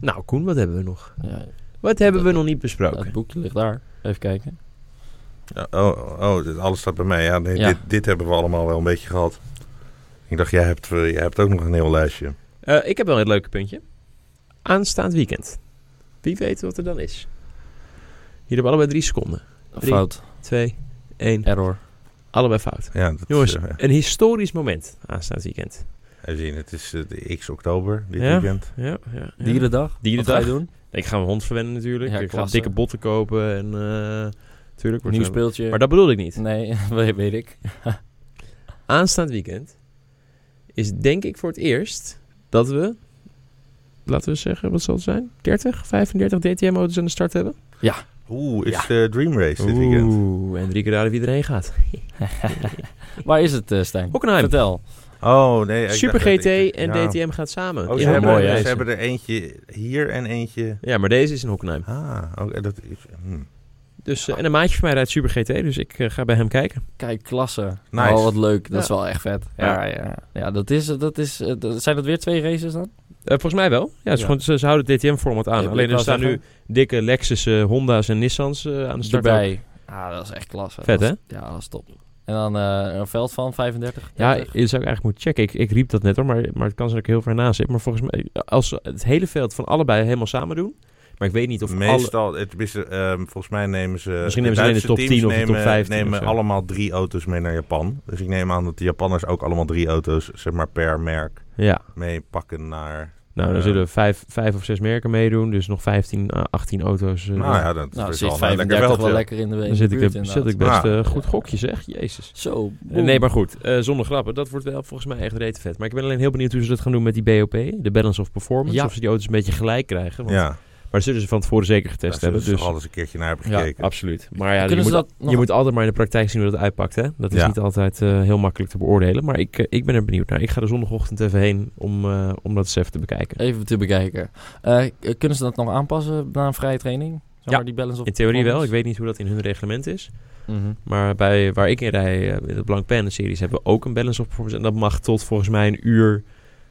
S1: Nou, Koen, wat hebben we nog?
S2: Ja,
S1: Wat hebben we
S2: Dat-
S1: nog niet besproken?
S2: Het boekje ligt daar. Even kijken.
S3: Oh, oh dit- alles staat bij mij. Ja, nee,
S2: Ja.
S3: Dit, dit hebben we allemaal wel een beetje gehad. Ik dacht, jij hebt, eh, jij hebt ook nog een heel lijstje.
S1: Eh, ik heb wel een leuke puntje. Aanstaand weekend. Wie weet wat er dan is? Jullie hebben allebei drie seconden. Drie.
S2: Fout.
S1: Twee, één.
S2: Error.
S1: Allebei fout.
S3: Ja, dat,
S1: Jongens,
S3: eh,
S1: een historisch moment aanstaand weekend.
S3: we zien, het is eh, de X oktober dit
S1: Ja.
S3: weekend.
S1: Ja, ja, ja.
S2: Dierendag.
S1: Dierendag.
S2: Wat ga je doen?
S1: Ik ga mijn hond verwennen natuurlijk.
S2: Ja,
S1: ik ga
S2: klasse.
S1: dikke botten kopen en... eh tuurlijk wordt
S2: Nieuw
S1: het-
S2: speeltje.
S1: Maar dat bedoelde ik niet.
S2: Nee, weet- weet ik.
S1: aanstaand weekend is denk ik voor het eerst dat we, laten we zeggen, wat zal het zijn? 30, 35 DTM-auto's aan de start hebben?
S3: Oeh, is
S2: Ja.
S3: de Dream Race dit weekend.
S1: en drie keer raden wie erheen gaat.
S2: Waar is het, eh, Stijn?
S1: Hockenheim.
S2: Vertel.
S3: Oh, nee. ik
S1: Super
S3: dacht dat
S1: GT
S3: ik-
S1: en
S3: ja.
S1: DTM gaat samen.
S3: Oh,
S1: in
S3: ze,
S2: Ja,
S3: hebben,
S2: mooi,
S1: Hockenheim.
S2: hè,
S3: ze
S2: ze.
S3: hebben er eentje hier en eentje...
S1: Ja, maar deze is in Hockenheim.
S3: Ah, oké, dat is... hm.
S1: Dus, eh, en een maatje van mij rijdt Super GT, dus ik eh, ga bij hem kijken.
S2: Kijk, klasse.
S3: Nice.
S2: Oh, wat leuk. Dat
S1: Ja.
S2: is wel echt vet.
S1: Ja.
S2: Ja, ja. ja. dat is, dat is, eh, dat- zijn dat weer twee races dan?
S1: Eh, volgens mij wel. Ja, het is
S2: Ja.
S1: Gewoon, ze, ze houden het DTM-format aan.
S2: Ja,
S1: Alleen
S2: ik
S1: er
S2: wou
S1: staan nu
S2: zeggen.
S1: dikke Lexus, eh, Honda's en Nissans eh, aan de start. ook.
S2: Erbij. Ah, dat is echt klasse.
S1: Vet,
S2: Dat is- Ja, dat is top. En dan eh, een veld van 35,
S1: Ja,
S2: 30.
S1: dat zou ik eigenlijk moeten checken. Ik, ik riep dat net hoor, maar, maar het kan zijn dat ik heel ver naast zit. Maar volgens mij, als ze het hele veld van allebei helemaal samen doen... Maar ik weet niet of alle...
S3: Meestal, het, tenminste, ehm, volgens mij nemen ze...
S1: Misschien nemen ze alleen de
S3: Duitse
S1: top
S3: teams
S1: 10 of de top
S3: nemen,
S1: 15 of
S3: nemen
S1: zo.
S3: allemaal drie auto's mee naar Japan. Dus ik neem aan dat de Japanners ook allemaal drie auto's, zeg maar, per merk
S1: Ja,
S3: meepakken naar...
S1: nou dan
S3: Ja.
S1: zullen vijf, vijf of zes merken meedoen. Dus nog 15, eh, 18 auto's. eh,
S3: nou ja, dat
S2: Nou,
S3: is
S2: zit
S3: wel een
S2: 35
S3: lekker
S2: wel,
S3: wel.
S2: lekker in de
S1: dan zit ik,
S2: buurt
S1: er-
S2: inderdaad.
S1: zit ik best
S3: Ja.
S1: eh, goed gokje zeg. Jezus.
S2: Zo.
S1: Eh,
S2: boem.
S1: Nee, maar goed. eh, zonder grappen. Dat wordt wel volgens mij echt rete vet. Maar ik ben alleen heel benieuwd hoe ze dat gaan doen met die BOP. De Balance of Performance.
S2: Ja.
S1: Of ze die auto's een beetje gelijk krijgen. Want,
S3: Ja,
S1: Maar dat zullen ze van tevoren zeker
S3: daar
S1: getest
S3: zullen
S1: hebben.
S3: ze
S1: Dus,
S3: toch alles een keertje naar hebben
S1: ja,
S3: gekeken.
S1: absoluut. Maar ja, je,
S2: Kunnen
S1: moet,
S2: ze dat nog-
S1: je moet altijd maar in de praktijk zien hoe dat uitpakt. Hè? Dat is
S3: Ja.
S1: niet altijd eh, heel makkelijk te beoordelen. Maar ik, eh, ik ben er benieuwd naar. Ik ga er zondagochtend even heen om, eh, om dat eens even te bekijken.
S2: Even te bekijken. Eh, k- kunnen ze dat nog aanpassen na een vrije training? Zeg
S1: Ja.
S2: maar die balance of
S1: In theorie wel. Ik
S2: performance?
S1: weet niet hoe dat in hun reglement is.
S2: Mhm.
S1: Maar bij waar ik in rij, eh, de Blank Pen series, hebben we ook een balance op performance. En dat mag tot volgens mij een uur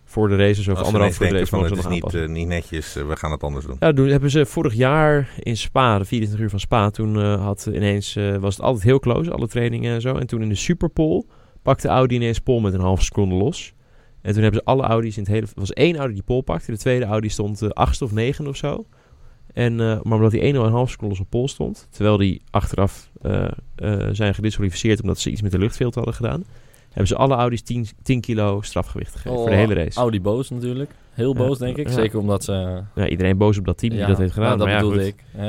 S1: voor de races of
S3: Als ze
S1: anderhalf
S3: ineens
S1: voor de
S3: denken
S1: race
S3: van,
S1: mogen ze
S3: het
S1: nog
S3: is niet,
S1: aanpassen.
S3: eh, niet netjes, eh, we gaan het anders doen.
S1: Ja, dat doen, hebben ze vorig jaar in Spa, de 24 uur van Spa, toen eh, had ineens, eh, was het altijd heel close, alle trainingen en zo. En toen in de Superpole pakte Audi ineens pole met een halve seconde los. En toen hebben ze alle Audi's in het hele... Er was één Audi die pole pakte, de tweede Audi stond eh, achtste of negende of zo. En, eh, maar omdat die ene al een halve seconde los op pole stond, terwijl die achteraf eh, eh, zijn gedisqualificeerd omdat ze iets met de luchtfilter hadden gedaan, hebben ze alle Audi's 10, 10 kilo strafgewicht gegeven voor de
S2: Oh,
S1: hele race.
S2: Audi boos natuurlijk.
S1: Ja.
S2: Heel boos, denk ik.
S1: Ja.
S2: Zeker omdat ze...
S1: Ja, iedereen boos op dat team die dat heeft gedaan.
S2: nou, dat
S1: maar ja,
S2: bedoelde
S1: goed.
S2: ik. hè.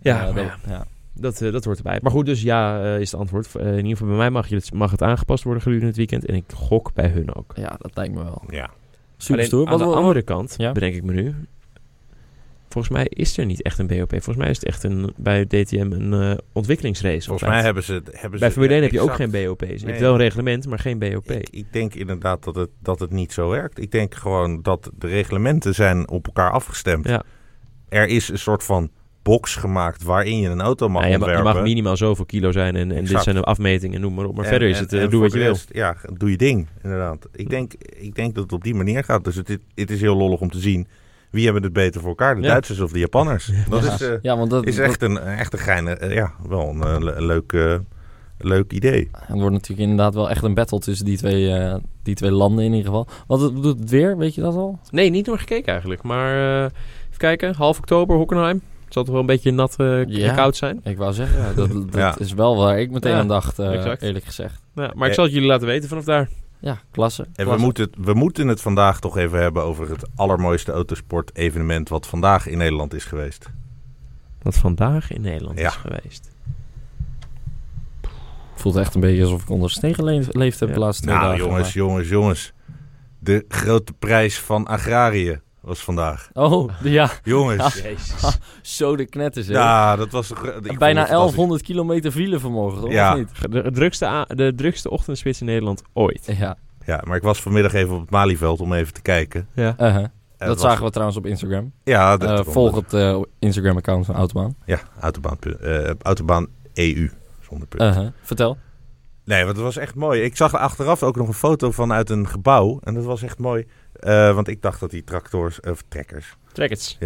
S1: Ja, maar
S2: Eh, dat-
S1: ja.
S2: ja.
S1: Dat, eh, dat hoort erbij. Maar goed, dus ja, eh, is het antwoord. Eh, in ieder geval bij mij mag, je het, mag het aangepast worden gedurende het weekend. En ik gok bij hun ook.
S2: Ja, dat lijkt me wel.
S3: Ja,
S2: Super
S1: Alleen,
S2: stoer.
S1: aan
S2: Wat,
S1: de
S2: wat-
S1: andere kant,
S2: Ja.
S1: bedenk ik me nu... Volgens mij is er niet echt een BOP. Volgens mij is het echt een, bij DTM een eh, ontwikkelingsrace.
S3: volgens
S1: altijd.
S3: mij hebben ze... Hebben
S1: bij
S3: ze
S1: Formule 1 heb je ook
S3: exact-
S1: geen BOP's. Je hebt
S3: Nee.
S1: wel een reglement, maar geen BOP.
S3: Ik, ik denk inderdaad dat het, dat het niet zo werkt. Ik denk gewoon dat de reglementen zijn op elkaar afgestemd.
S1: Ja.
S3: Er is een soort van box gemaakt waarin je een auto mag
S1: Nou Ja, je, ma- je
S3: ontwerpen.
S1: mag minimaal zoveel kilo zijn en, en dit
S3: Exact.
S1: zijn de afmetingen en noem maar op. Maar
S3: En-
S1: verder is
S3: en-
S1: het, eh,
S3: en
S1: doe
S3: voor
S1: wat je
S3: de
S1: wil.
S3: rest, Ja, doe je ding, inderdaad. Ik denk, ik denk dat het op die manier gaat. Dus het, het is heel lollig om te zien wie hebben het beter voor elkaar. De
S1: Ja.
S3: Duitsers of de Japanners. Dat
S2: ja.
S3: is, eh,
S2: ja, want dat,
S3: is echt een, echt een geine, eh, ja, wel een, eh, le- leuk, eh, leuk idee.
S2: dat- het wordt natuurlijk inderdaad wel echt een battle tussen die twee, eh, die twee landen in ieder geval. Wat het- doet het weer? Weet je dat al?
S1: Nee, niet door gekeken eigenlijk. Maar eh, even kijken, half oktober, Hockenheim. Het zal toch wel een beetje nat eh, k-
S2: Ja.
S1: koud zijn.
S2: Ik wou zeggen, ja, dat, dat
S3: Ja.
S2: is wel waar ik meteen
S1: Ja,
S2: aan dacht, eh,
S1: exact.
S2: eerlijk gezegd.
S1: Ja, maar ik
S3: Eh,
S1: zal het jullie laten weten vanaf daar.
S2: Ja, klasse.
S3: En we
S2: Klasse.
S3: moeten, het- we moeten het vandaag toch even hebben over het allermooiste autosport-evenement wat vandaag in Nederland is geweest.
S1: Wat vandaag in Nederland
S3: Ja.
S1: is geweest.
S2: voelt echt een beetje alsof ik onder steen geleefd heb
S1: Ja.
S2: de laatste twee
S3: Nou,
S2: dagen.
S3: jongens, jongens, jongens. De grote prijs van agrarië was vandaag.
S2: maar- Oh, ja.
S3: Jongens.
S1: Jezus.
S2: Zo de knetters, hè.
S3: Ja, dat was de gro- ik vond het
S2: Bijna
S3: fantastisch.
S2: 1100 kilometer filevermogen, hoor,
S3: Ja.
S2: of niet?
S1: De drukste, a- de drukste ochtendspits in Nederland ooit.
S2: Ja, uh-huh.
S3: Ja, maar ik was vanmiddag even op het Malieveld om even te kijken. En
S1: Ja.
S2: uh-huh.
S3: het
S2: dat
S3: was-
S2: zagen we trouwens op Instagram.
S3: Ja,
S2: Eh,
S3: dat
S2: volg het eh, Instagram-account van Autobaan.
S3: Ja, autobaan, eh, autobaan EU. Zonder punt.
S2: Uh-huh. Vertel.
S3: Nee, want het was echt mooi. Ik zag achteraf ook nog een foto vanuit een gebouw. En dat was echt mooi. Eh, want ik dacht dat die tractors, of trekkers,
S1: Trek het.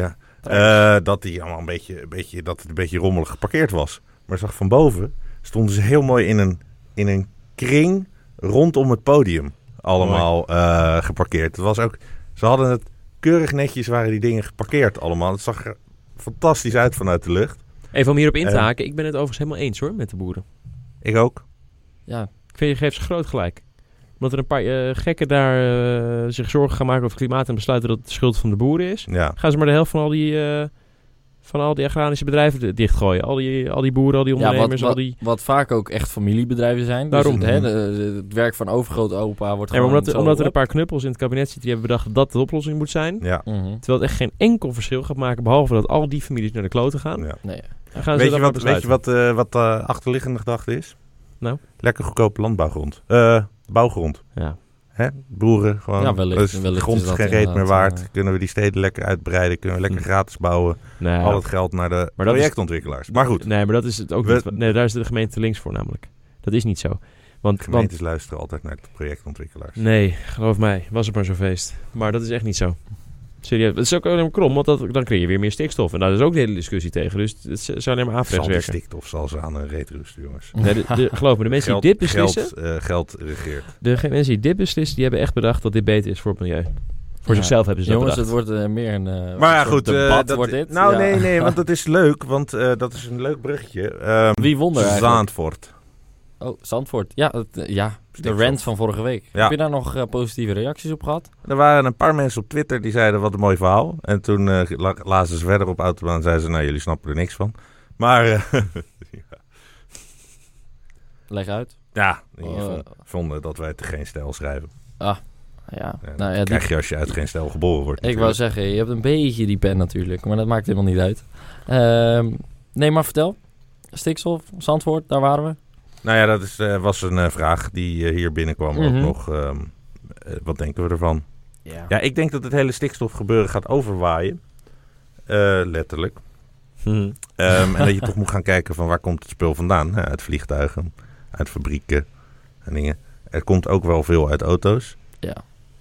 S3: Eh, dat die allemaal een beetje, een beetje, dat het een beetje rommelig geparkeerd was. Maar zag van boven stonden ze heel mooi in een, in een kring rondom het podium. Allemaal eh, geparkeerd. Het was ook, ze hadden het keurig netjes waren die dingen geparkeerd allemaal. Het zag er fantastisch uit vanuit de lucht.
S1: Even om hierop in te
S3: Eh.
S1: haken. Ik ben het overigens helemaal eens hoor met de boeren.
S3: Ik ook.
S2: Ja,
S1: Ik vind je geeft ze groot gelijk. Omdat er een paar eh, gekken daar eh, zich zorgen gaan maken over het klimaat en besluiten dat het de schuld van de boeren is.
S3: Ja.
S1: Gaan ze maar de helft van al die, eh, van al die agrarische bedrijven di- dichtgooien. Al die, al die boeren, al die
S2: ja
S1: ondernemers,
S2: wat, wat,
S1: al die...
S2: wat vaak ook echt familiebedrijven zijn.
S1: Daarom.
S2: Dus het, hè, de- de- het werk van overgrootopa wordt
S1: En
S2: gewoon...
S1: omdat,
S2: zo
S1: omdat er een
S2: op.
S1: paar knuppels in het kabinet zitten die hebben bedacht dat dat de oplossing moet zijn.
S3: ja.
S2: Mhm.
S1: Terwijl het echt geen enkel verschil gaat maken, behalve dat al die families naar de kloten gaan.
S3: ja.
S2: Nee,
S1: Dan gaan
S3: Weet,
S1: ze dat
S3: je
S1: maar
S3: wat, weet je
S1: besluiten.
S3: wat, eh, wat de achterliggende gedachte is?
S1: Nou?
S3: Lekker goedkoop landbouwgrond. Eh, bouwgrond.
S1: Ja.
S3: hè, boeren. Gewoon,
S2: Ja, wellicht-
S3: dus
S2: wellicht is
S3: grond
S2: dat
S3: geen reet meer
S2: inderdaad, eh, Mm.
S3: waard.
S2: ja.
S3: Kunnen we die steden lekker uitbreiden. Kunnen we lekker
S1: Hm.
S3: gratis bouwen.
S1: Nee,
S3: Al het geld naar de
S1: Maar dat is-
S3: projectontwikkelaars. Maar goed,
S1: nee, maar dat is het ook
S3: We-
S1: niet. Nee, daar is de gemeente links voor namelijk. Dat is niet zo. Want, Mm. want
S3: gemeentes luisteren altijd naar de projectontwikkelaars.
S1: nee, geloof mij, was het maar zo'n feest. Maar dat is echt niet zo. Serieus, het is ook alleen maar krom, want dat, dan creëer je weer meer stikstof. En daar is ook de hele discussie tegen. Dus het z- zou alleen maar
S3: Zal
S1: averechts
S3: die
S1: werken.
S3: stikstof zal ze aan een reet rusten, jongens.
S1: Nee, de, de- geloof me, de mensen die dit beslissen,
S3: Geld, eh, geld regeert.
S1: de ge- mensen die dit beslissen, die hebben echt bedacht dat dit beter is voor het milieu. Voor
S2: Ja.
S1: zichzelf hebben ze dat
S2: Jongens,
S1: bedacht.
S2: het wordt eh, meer een eh,
S3: Maar ja,
S2: soort
S3: goed.
S2: debat
S3: eh, dat,
S2: wordt dit.
S3: Nou,
S2: Ja.
S3: nee, nee, want dat is leuk. Want eh, dat is een leuk bruggetje. Ehm,
S2: Wie won er eigenlijk?
S3: Zandvoort.
S2: Oh, Zandvoort. Ja, het, eh, ja de
S3: Stikstof.
S2: rant van vorige week.
S3: Ja.
S2: Heb je daar nog eh, positieve reacties op gehad?
S3: Er waren een paar mensen op Twitter die zeiden wat een mooi verhaal. En toen eh, la- lazen ze verder op Autobaan en zeiden ze, nou jullie snappen er niks van. Maar eh,
S2: Leg uit.
S3: ja, die
S2: Eh.
S3: vond- vonden dat wij te geen stijl schrijven.
S2: Ja,
S3: Ja,
S2: nou ja, die-
S3: Krijg je als je uit geen stijl geboren wordt.
S2: ik wou zeggen, je hebt een beetje die pen natuurlijk, maar dat maakt helemaal niet uit. Ehm, nee, maar vertel. Stikstof, Zandvoort, daar waren we.
S3: Nou ja, dat is, eh, was een eh, vraag die eh, hier binnenkwam
S2: Mhm.
S3: ook nog. ehm, eh, wat denken we ervan?
S2: Ja.
S3: Ja, ik denk dat het hele stikstofgebeuren gaat overwaaien. Eh, letterlijk.
S1: Hm.
S3: Ehm, en dat je toch moet gaan kijken van waar komt het spul vandaan. Ja, uit vliegtuigen, uit fabrieken en dingen. Er komt ook wel veel uit auto's.
S2: Ja.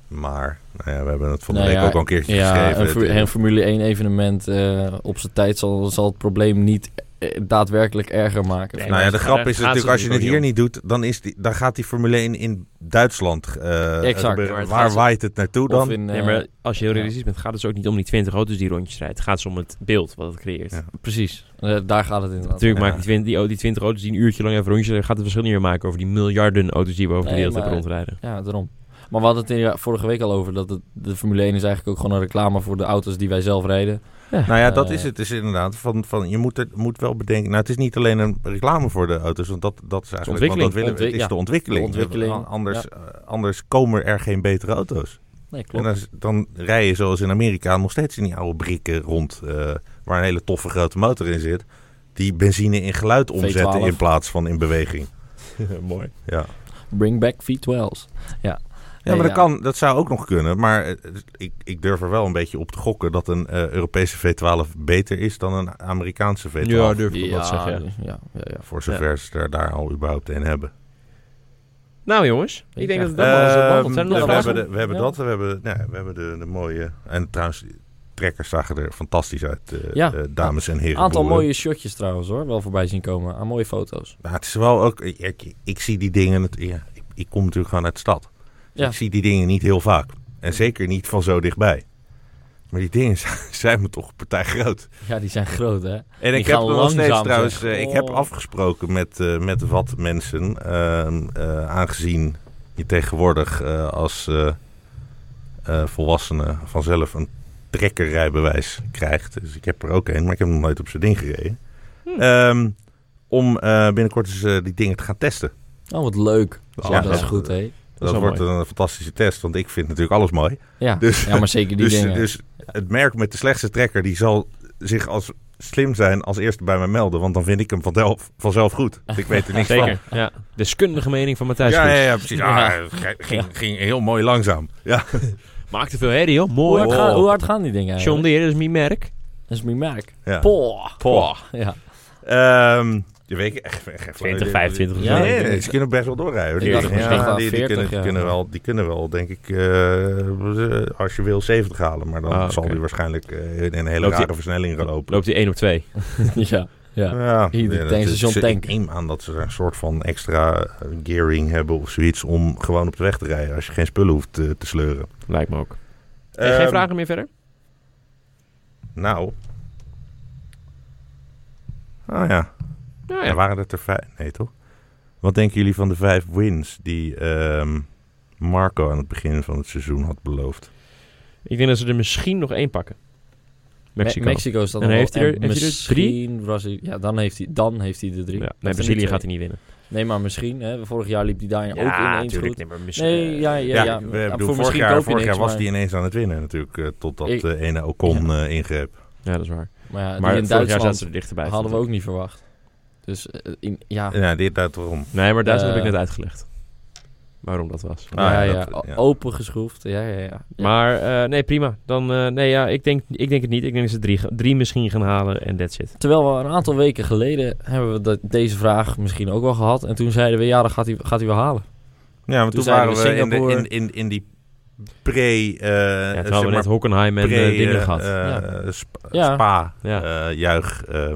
S3: Maar nou ja, we hebben het van de
S2: Nou
S3: week
S2: ja,
S3: ook al een keertje
S2: Ja,
S3: geschreven.
S2: een,
S3: Het-
S2: Fu- een Formule 1 evenement eh, op zijn tijd zal, zal het probleem niet eh, daadwerkelijk erger maken.
S1: Nee,
S3: nou ja, de
S1: maar
S3: grap
S1: daar
S3: is
S1: gaat
S3: natuurlijk,
S1: ze
S3: als je
S1: niet
S3: het
S1: voor,
S3: hier niet doet, dan, is die, dan gaat die Formule 1 in Duitsland. eh,
S2: Exact,
S3: gebeuren.
S1: maar het gaat
S3: Waar
S1: ze-
S3: waait het naartoe
S2: Of
S3: dan?
S2: in,
S1: Nee,
S2: eh,
S1: maar als je heel
S2: ja.
S1: realistisch bent, gaat het dus ook niet om die 20 auto's die rondjes rijden. Het gaat dus om het beeld wat het creëert.
S3: Ja.
S2: Precies, Eh, daar gaat het inderdaad.
S1: Natuurlijk
S3: Ja.
S1: maakt die 20, die, die 20 auto's die een uurtje lang even rondjes rijden, gaat het verschil niet meer maken over die miljarden auto's die we over de
S2: Nee,
S1: wereld hebben
S2: maar-
S1: rondrijden.
S2: Ja, daarom. Maar we hadden het in, ja, vorige week al over dat het- de Formule 1 is eigenlijk ook gewoon een reclame voor de auto's die wij zelf rijden.
S3: Nou ja, dat
S2: Eh.
S3: is het. Is inderdaad van, van, je moet, er, moet wel bedenken. Nou, het is niet alleen een reclame voor de auto's, want dat, dat is eigenlijk want
S1: ontwikkeling.
S3: dat willen we.
S2: Ontwik-
S3: het is
S2: ja.
S3: de ontwikkeling.
S2: De ontwikkeling,
S3: An- Anders, eh, anders komen er geen betere auto's.
S2: Nee,
S3: En
S2: klopt.
S3: dan, is- dan rij je zoals in Amerika nog steeds in die oude brikken rond, eh, waar een hele toffe grote motor in zit. Die benzine in geluid omzetten
S2: V12.
S3: in plaats van in beweging.
S1: Mooi.
S3: Ja,
S2: Bring back V12's.
S3: ja maar
S2: Nee,
S3: dat,
S2: ja.
S3: Kan, dat zou ook nog kunnen. Maar eh, ik, ik durf er wel een beetje op te gokken dat een eh, Europese V12 beter is dan een Amerikaanse V12.
S1: Ja, durf ik wel wat te
S2: ja,
S1: zeggen. ja.
S2: ja, ja, ja.
S3: Voor zover ze er daar al überhaupt een hebben.
S1: Nou jongens,
S2: Ik
S1: ik denk
S2: ga-
S1: dat het allemaal is behandeld.
S3: Ehm,
S1: Zijn er
S3: we,
S1: nog
S2: vragen?
S3: hebben de- we hebben
S2: Ja.
S3: dat, we hebben, nou ja, we hebben de, de mooie... En trouwens, die trekkers zagen er fantastisch uit, eh,
S2: Ja.
S3: eh, dames en heren.
S2: Aantal
S1: eh,
S3: boeren.
S2: mooie shotjes trouwens hoor, wel voorbij zien komen. Aan mooie foto's.
S3: Maar het is wel ook... Ik, ik, ik zie die dingen... Het, ja, ik, ik kom natuurlijk gewoon uit de stad. Dus
S2: Ja.
S3: Ik zie die dingen niet heel vaak. En zeker niet van zo dichtbij. Maar die dingen zijn, zijn me toch een partij groot.
S2: Ja, die zijn groot hè.
S3: En
S2: Die
S3: ik heb
S2: gaan
S3: er nog steeds
S2: langzaam,
S3: trouwens...
S2: zeg.
S3: eh, Ik heb
S2: Oh.
S3: afgesproken met, eh, met wat mensen. ehm, eh, aangezien je tegenwoordig eh, als eh, eh, volwassene vanzelf een trekkerrijbewijs krijgt. Dus ik heb er ook een, maar ik heb nog nooit op zo'n ding gereden.
S1: Hm.
S3: Ehm, om eh, binnenkort eens eh, die dingen te gaan testen.
S2: Oh, wat leuk.
S3: Dus
S2: Oh,
S3: ja,
S2: dat is
S3: dat-
S2: goed hè.
S3: Dat,
S1: wel
S3: wordt
S1: mooi.
S3: een fantastische test, want ik vind natuurlijk alles mooi.
S2: Ja.
S3: Dus-
S2: ja, maar zeker die
S3: Dus,
S2: dingen.
S3: dus het merk met de slechtste trekker, die zal zich als slim zijn als eerste bij mij melden. Want dan vind ik hem vanzelf, vanzelf goed. Want ik weet er niks van.
S1: Zeker, ja. Deskundige mening van Matthijs
S3: Ja,
S1: Kroes.
S3: ja, ja, precies. Ah,
S2: Ja.
S3: het ging- ging, ging heel mooi langzaam. Ja.
S1: Maakte veel herrie joh,
S2: hoe,
S1: mooi.
S2: hard gaan, hoe hard gaan die dingen
S1: Oh. John
S2: eigenlijk?
S1: Deere, dat is mijn merk.
S2: Dat is mijn merk.
S3: ja.
S2: Poh.
S3: Poh.
S2: Ja.
S3: Ehm, je weet echt, echt, echt-
S1: 20, 25
S2: Ja,
S3: nee,
S2: ik
S3: nee,
S2: denk-
S3: ze kunnen best wel doorrijden. hoor.
S2: Ik dacht
S3: Die-
S2: misschien wel
S3: die, die
S2: 40,
S3: kunnen, die
S2: ja.
S3: kunnen wel, die kunnen wel, denk ik, eh, als je wil 70 halen. Maar dan
S1: Ah,
S3: zal
S1: oké.
S3: die waarschijnlijk eh, in een hele
S1: Loopt die-
S3: rare versnelling gaan lopen.
S1: Loopt hij 1 op 2.
S2: ja. Ja.
S3: Ja,
S2: Ieder
S3: dat
S2: tankstation
S3: is-
S2: tank.
S3: Ik neem aan dat ze er een soort van extra eh, gearing hebben of zoiets om gewoon op de weg te rijden als je geen spullen hoeft eh, te sleuren.
S1: Lijkt me ook.
S2: Eh,
S1: Hey, geen
S3: Ehm,
S1: vragen meer verder?
S3: Nou. Ah
S2: Oh,
S3: ja.
S1: Nou
S3: ja,
S1: ja.
S3: waren dat er vijf? Nee toch? Wat denken jullie van de vijf wins die ehm, Marco aan het begin van het seizoen had beloofd?
S1: Ik denk dat ze er misschien nog één pakken. Mexico.
S2: Me- Mexico is dan
S1: En
S2: nog
S1: heeft
S2: wel-
S1: hij er-
S2: en
S1: heeft hij er drie?
S2: misschien Brazilië. Ja, dan heeft hij, dan heeft hij de drie.
S1: Ja.
S2: Heeft hij
S1: Nee,
S2: er
S1: Brazilië
S2: twee.
S1: gaat hij niet winnen.
S2: Nee, maar misschien. Hè. Vorig jaar liep hij daar ook ineens goed.
S1: Nee, maar misschien-
S3: eh,
S2: Nee, ja, ja, ja.
S3: we-
S2: Ja,
S3: bedoel,
S2: voor
S3: vorig
S2: misschien
S3: jaar,
S2: koop je
S3: vorig
S2: niks,
S3: jaar was
S2: maar-
S3: hij ineens aan het winnen natuurlijk, eh, totdat
S2: Ik-
S3: de ene Ocon eh, ingreep.
S1: ja, dat is waar.
S2: Maar, ja, die
S1: Maar
S2: in
S1: vorig jaar zaten
S2: Duitsland
S1: ze er dichterbij.
S2: hadden we
S1: vond
S2: ook niet verwacht. Dus eh, in, ja,
S3: Ja, dit daarom.
S1: ik. Nee, maar Duitsland heb
S2: Eh,
S1: ik net uitgelegd. waarom dat was.
S3: Ah,
S2: ja, ja,
S3: ja, dat-
S2: o-
S3: ja.
S2: Opengeschroefd. Ja, ja, ja.
S1: Maar eh, nee, prima. Dan, eh, nee, ja, ik denk, ik denk het niet. Ik denk dat ze drie, ga- drie misschien gaan halen en that's
S3: Eh,
S1: it.
S2: Terwijl we een aantal weken geleden hebben we dat, deze vraag misschien ook wel gehad. En toen zeiden we, ja, dan gaat hij, gaat hij wel halen.
S3: Ja, want
S2: Toen
S3: toen,
S2: zeiden
S3: waren
S2: we
S3: we in, de,
S2: Singapore.
S3: in, in, in die pre...
S1: Ja,
S3: eh eh,
S1: terwijl we
S3: zeg
S1: net
S3: maar,
S1: Hockenheim en
S3: pre,
S1: eh, dingen
S3: eh,
S1: gehad.
S3: eh,
S2: Ja.
S3: sp-
S2: Ja.
S3: Spa,
S1: Ja.
S3: eh, juich. eh,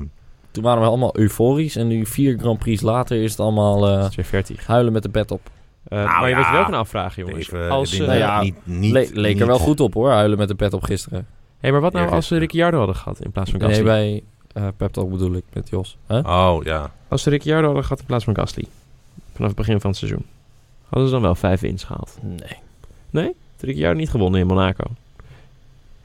S2: Toen waren we allemaal euforisch. En nu vier Grand Prix later is het allemaal eh,
S1: Dat is weer vertig.
S2: huilen met de pet op.
S1: Eh,
S3: Nou
S1: maar je
S3: ja.
S1: weet wel kan afvragen, jongens.
S3: even,
S1: als,
S3: dingen
S1: eh,
S2: nou ja,
S3: niet, niet,
S2: Le- leek
S3: niet-
S2: er wel goed op hoor, huilen met de pet op gisteren.
S1: hey, maar wat nou
S3: Ja,
S1: als ze
S3: gisteren.
S1: Ricciardo hadden gehad in plaats van Gasly?
S2: Nee, bij eh pep talk bedoel ik, met Jos. Huh?
S3: Oh, ja.
S1: Als ze Ricciardo hadden gehad in plaats van Gasly. Vanaf het begin van het seizoen. Hadden ze dan wel vijf wins gehaald.
S2: Nee.
S1: Had Ricciardo niet gewonnen in Monaco.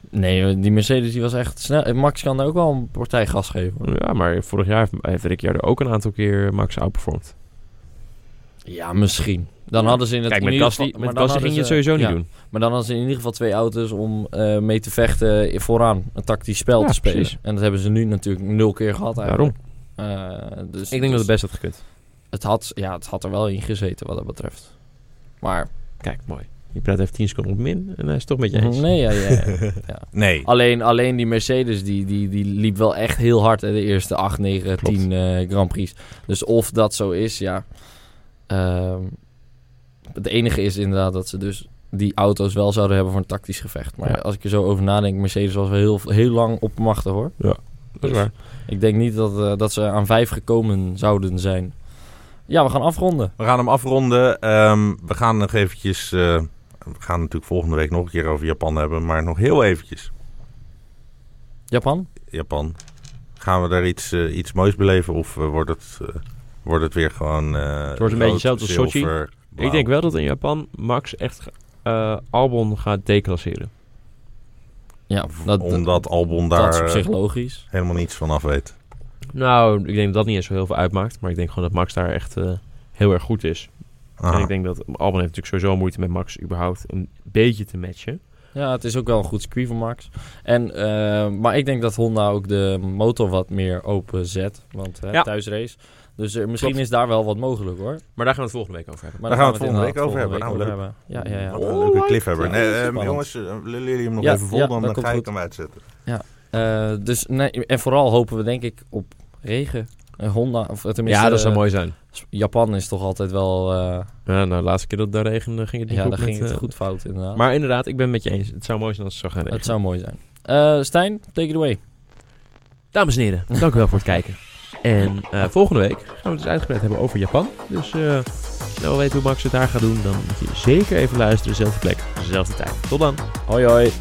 S2: Nee, die Mercedes die was echt snel. Eh, Max kan daar ook wel een partij gas geven. hoor.
S1: Ja, maar vorig jaar heeft- heeft Ricciardo ook een aantal keer Max outperformed.
S2: Ja, misschien. Dan hadden ze in het
S1: Kijk,
S2: in
S1: met
S2: ieder
S1: Gasly,
S2: geval-
S1: met
S2: maar dan
S1: Gasly ging je het
S2: hadden ze-
S1: sowieso niet
S2: ja,
S1: doen.
S2: Maar dan hadden ze in ieder geval twee auto's om eh, mee te vechten vooraan. Een tactisch spel
S1: Ja,
S2: te spelen.
S1: precies.
S2: En dat hebben ze nu natuurlijk nul keer gehad
S1: Daarom.
S2: eigenlijk. Daarom. dus,
S1: Ik denk dat
S2: dus
S1: het best had gekund.
S2: het had, ja, het had er wel in gezeten wat dat betreft. Maar...
S1: Kijk, mooi. Je praat even 10 seconden op min en hij is het toch met je eens.
S2: Nee, ja, ja, ja.
S3: Nee.
S2: Alleen, alleen die Mercedes die, die, die liep wel echt heel hard hè, de eerste 8, 9,
S1: Klopt.
S2: 10 eh, Grand Prix. Dus of dat zo is, ja. Ehm, het enige is inderdaad dat ze dus die auto's wel zouden hebben voor een tactisch gevecht. Maar
S1: Ja.
S2: als ik er zo over nadenk, Mercedes was wel heel, heel lang op machten hoor.
S1: Dat is waar.
S2: Ik denk niet dat, eh, dat ze aan vijf gekomen zouden zijn. Ja, we gaan afronden.
S3: We gaan hem afronden. Ehm, we gaan nog eventjes... eh, we gaan natuurlijk volgende week nog een keer over Japan hebben. Maar nog heel eventjes.
S2: Japan?
S3: Japan. Gaan we daar iets, eh, iets moois beleven? Of eh, wordt, het, eh, wordt het weer gewoon... eh,
S1: wordt een beetje
S3: rood,
S1: hetzelfde als Sochi.
S3: zilver, blauw?
S1: Ik denk wel dat in Japan Max echt eh, Albon gaat declasseren.
S2: Ja, dat, dat,
S3: Omdat Albon
S2: dat is
S3: daar
S2: op zich
S3: eh,
S2: logisch.
S3: helemaal niets van af weet.
S1: Nou, ik denk dat dat niet eens zo heel veel uitmaakt. Maar ik denk gewoon dat Max daar echt eh, heel erg goed is. En
S3: Aha.
S1: ik denk dat Albon heeft natuurlijk sowieso moeite met Max überhaupt een beetje te matchen.
S2: Ja, het is ook wel een goed circuit voor Max. En, eh, maar ik denk dat Honda ook de motor wat meer open zet. Want hè,
S1: Ja.
S2: thuisrace. Dus er, misschien
S1: Klopt.
S2: is daar wel wat mogelijk hoor.
S1: Maar daar gaan we het volgende week over hebben.
S2: Maar
S3: Daar gaan we het
S2: inderdaad
S3: volgende week over hebben. Nou, leuk.
S2: Ja, ja, ja.
S3: Wat een
S2: Oh,
S3: leuke cliffhaber.
S2: Ja,
S3: Nee,
S2: dat is
S3: eh,
S2: spannend.
S3: jongens, eh, lullen jullie hem nog
S2: Ja,
S3: even vol,
S2: ja,
S3: dan,
S2: dat
S3: dan
S2: komt
S3: ga ik
S2: goed.
S3: hem uitzetten. Oh.
S2: Eh, dus, nee, en vooral hopen we denk ik op regen. En Honda, of tenminste...
S1: ja, dat zou
S2: eh,
S1: mooi zijn.
S2: Japan is toch altijd wel... eh,
S1: Ja, nou, de laatste keer dat het daar regende ging het niet
S2: ja,
S1: goed.
S2: daar
S1: met,
S2: ging het
S1: eh,
S2: goed fout inderdaad.
S1: Maar inderdaad, ik ben het met je eens. Het zou mooi zijn als het zou gaan regenen.
S2: het zou mooi zijn. Eh, Stijn, take it away.
S1: Dames en heren, dank u wel voor het kijken. En eh, volgende week gaan we het dus uitgebreid hebben over Japan. Dus eh snel weten hoe Max het daar gaat doen, dan moet je zeker even luisteren. Zelfde plek, dezelfde tijd. Tot dan.
S2: Hoi hoi.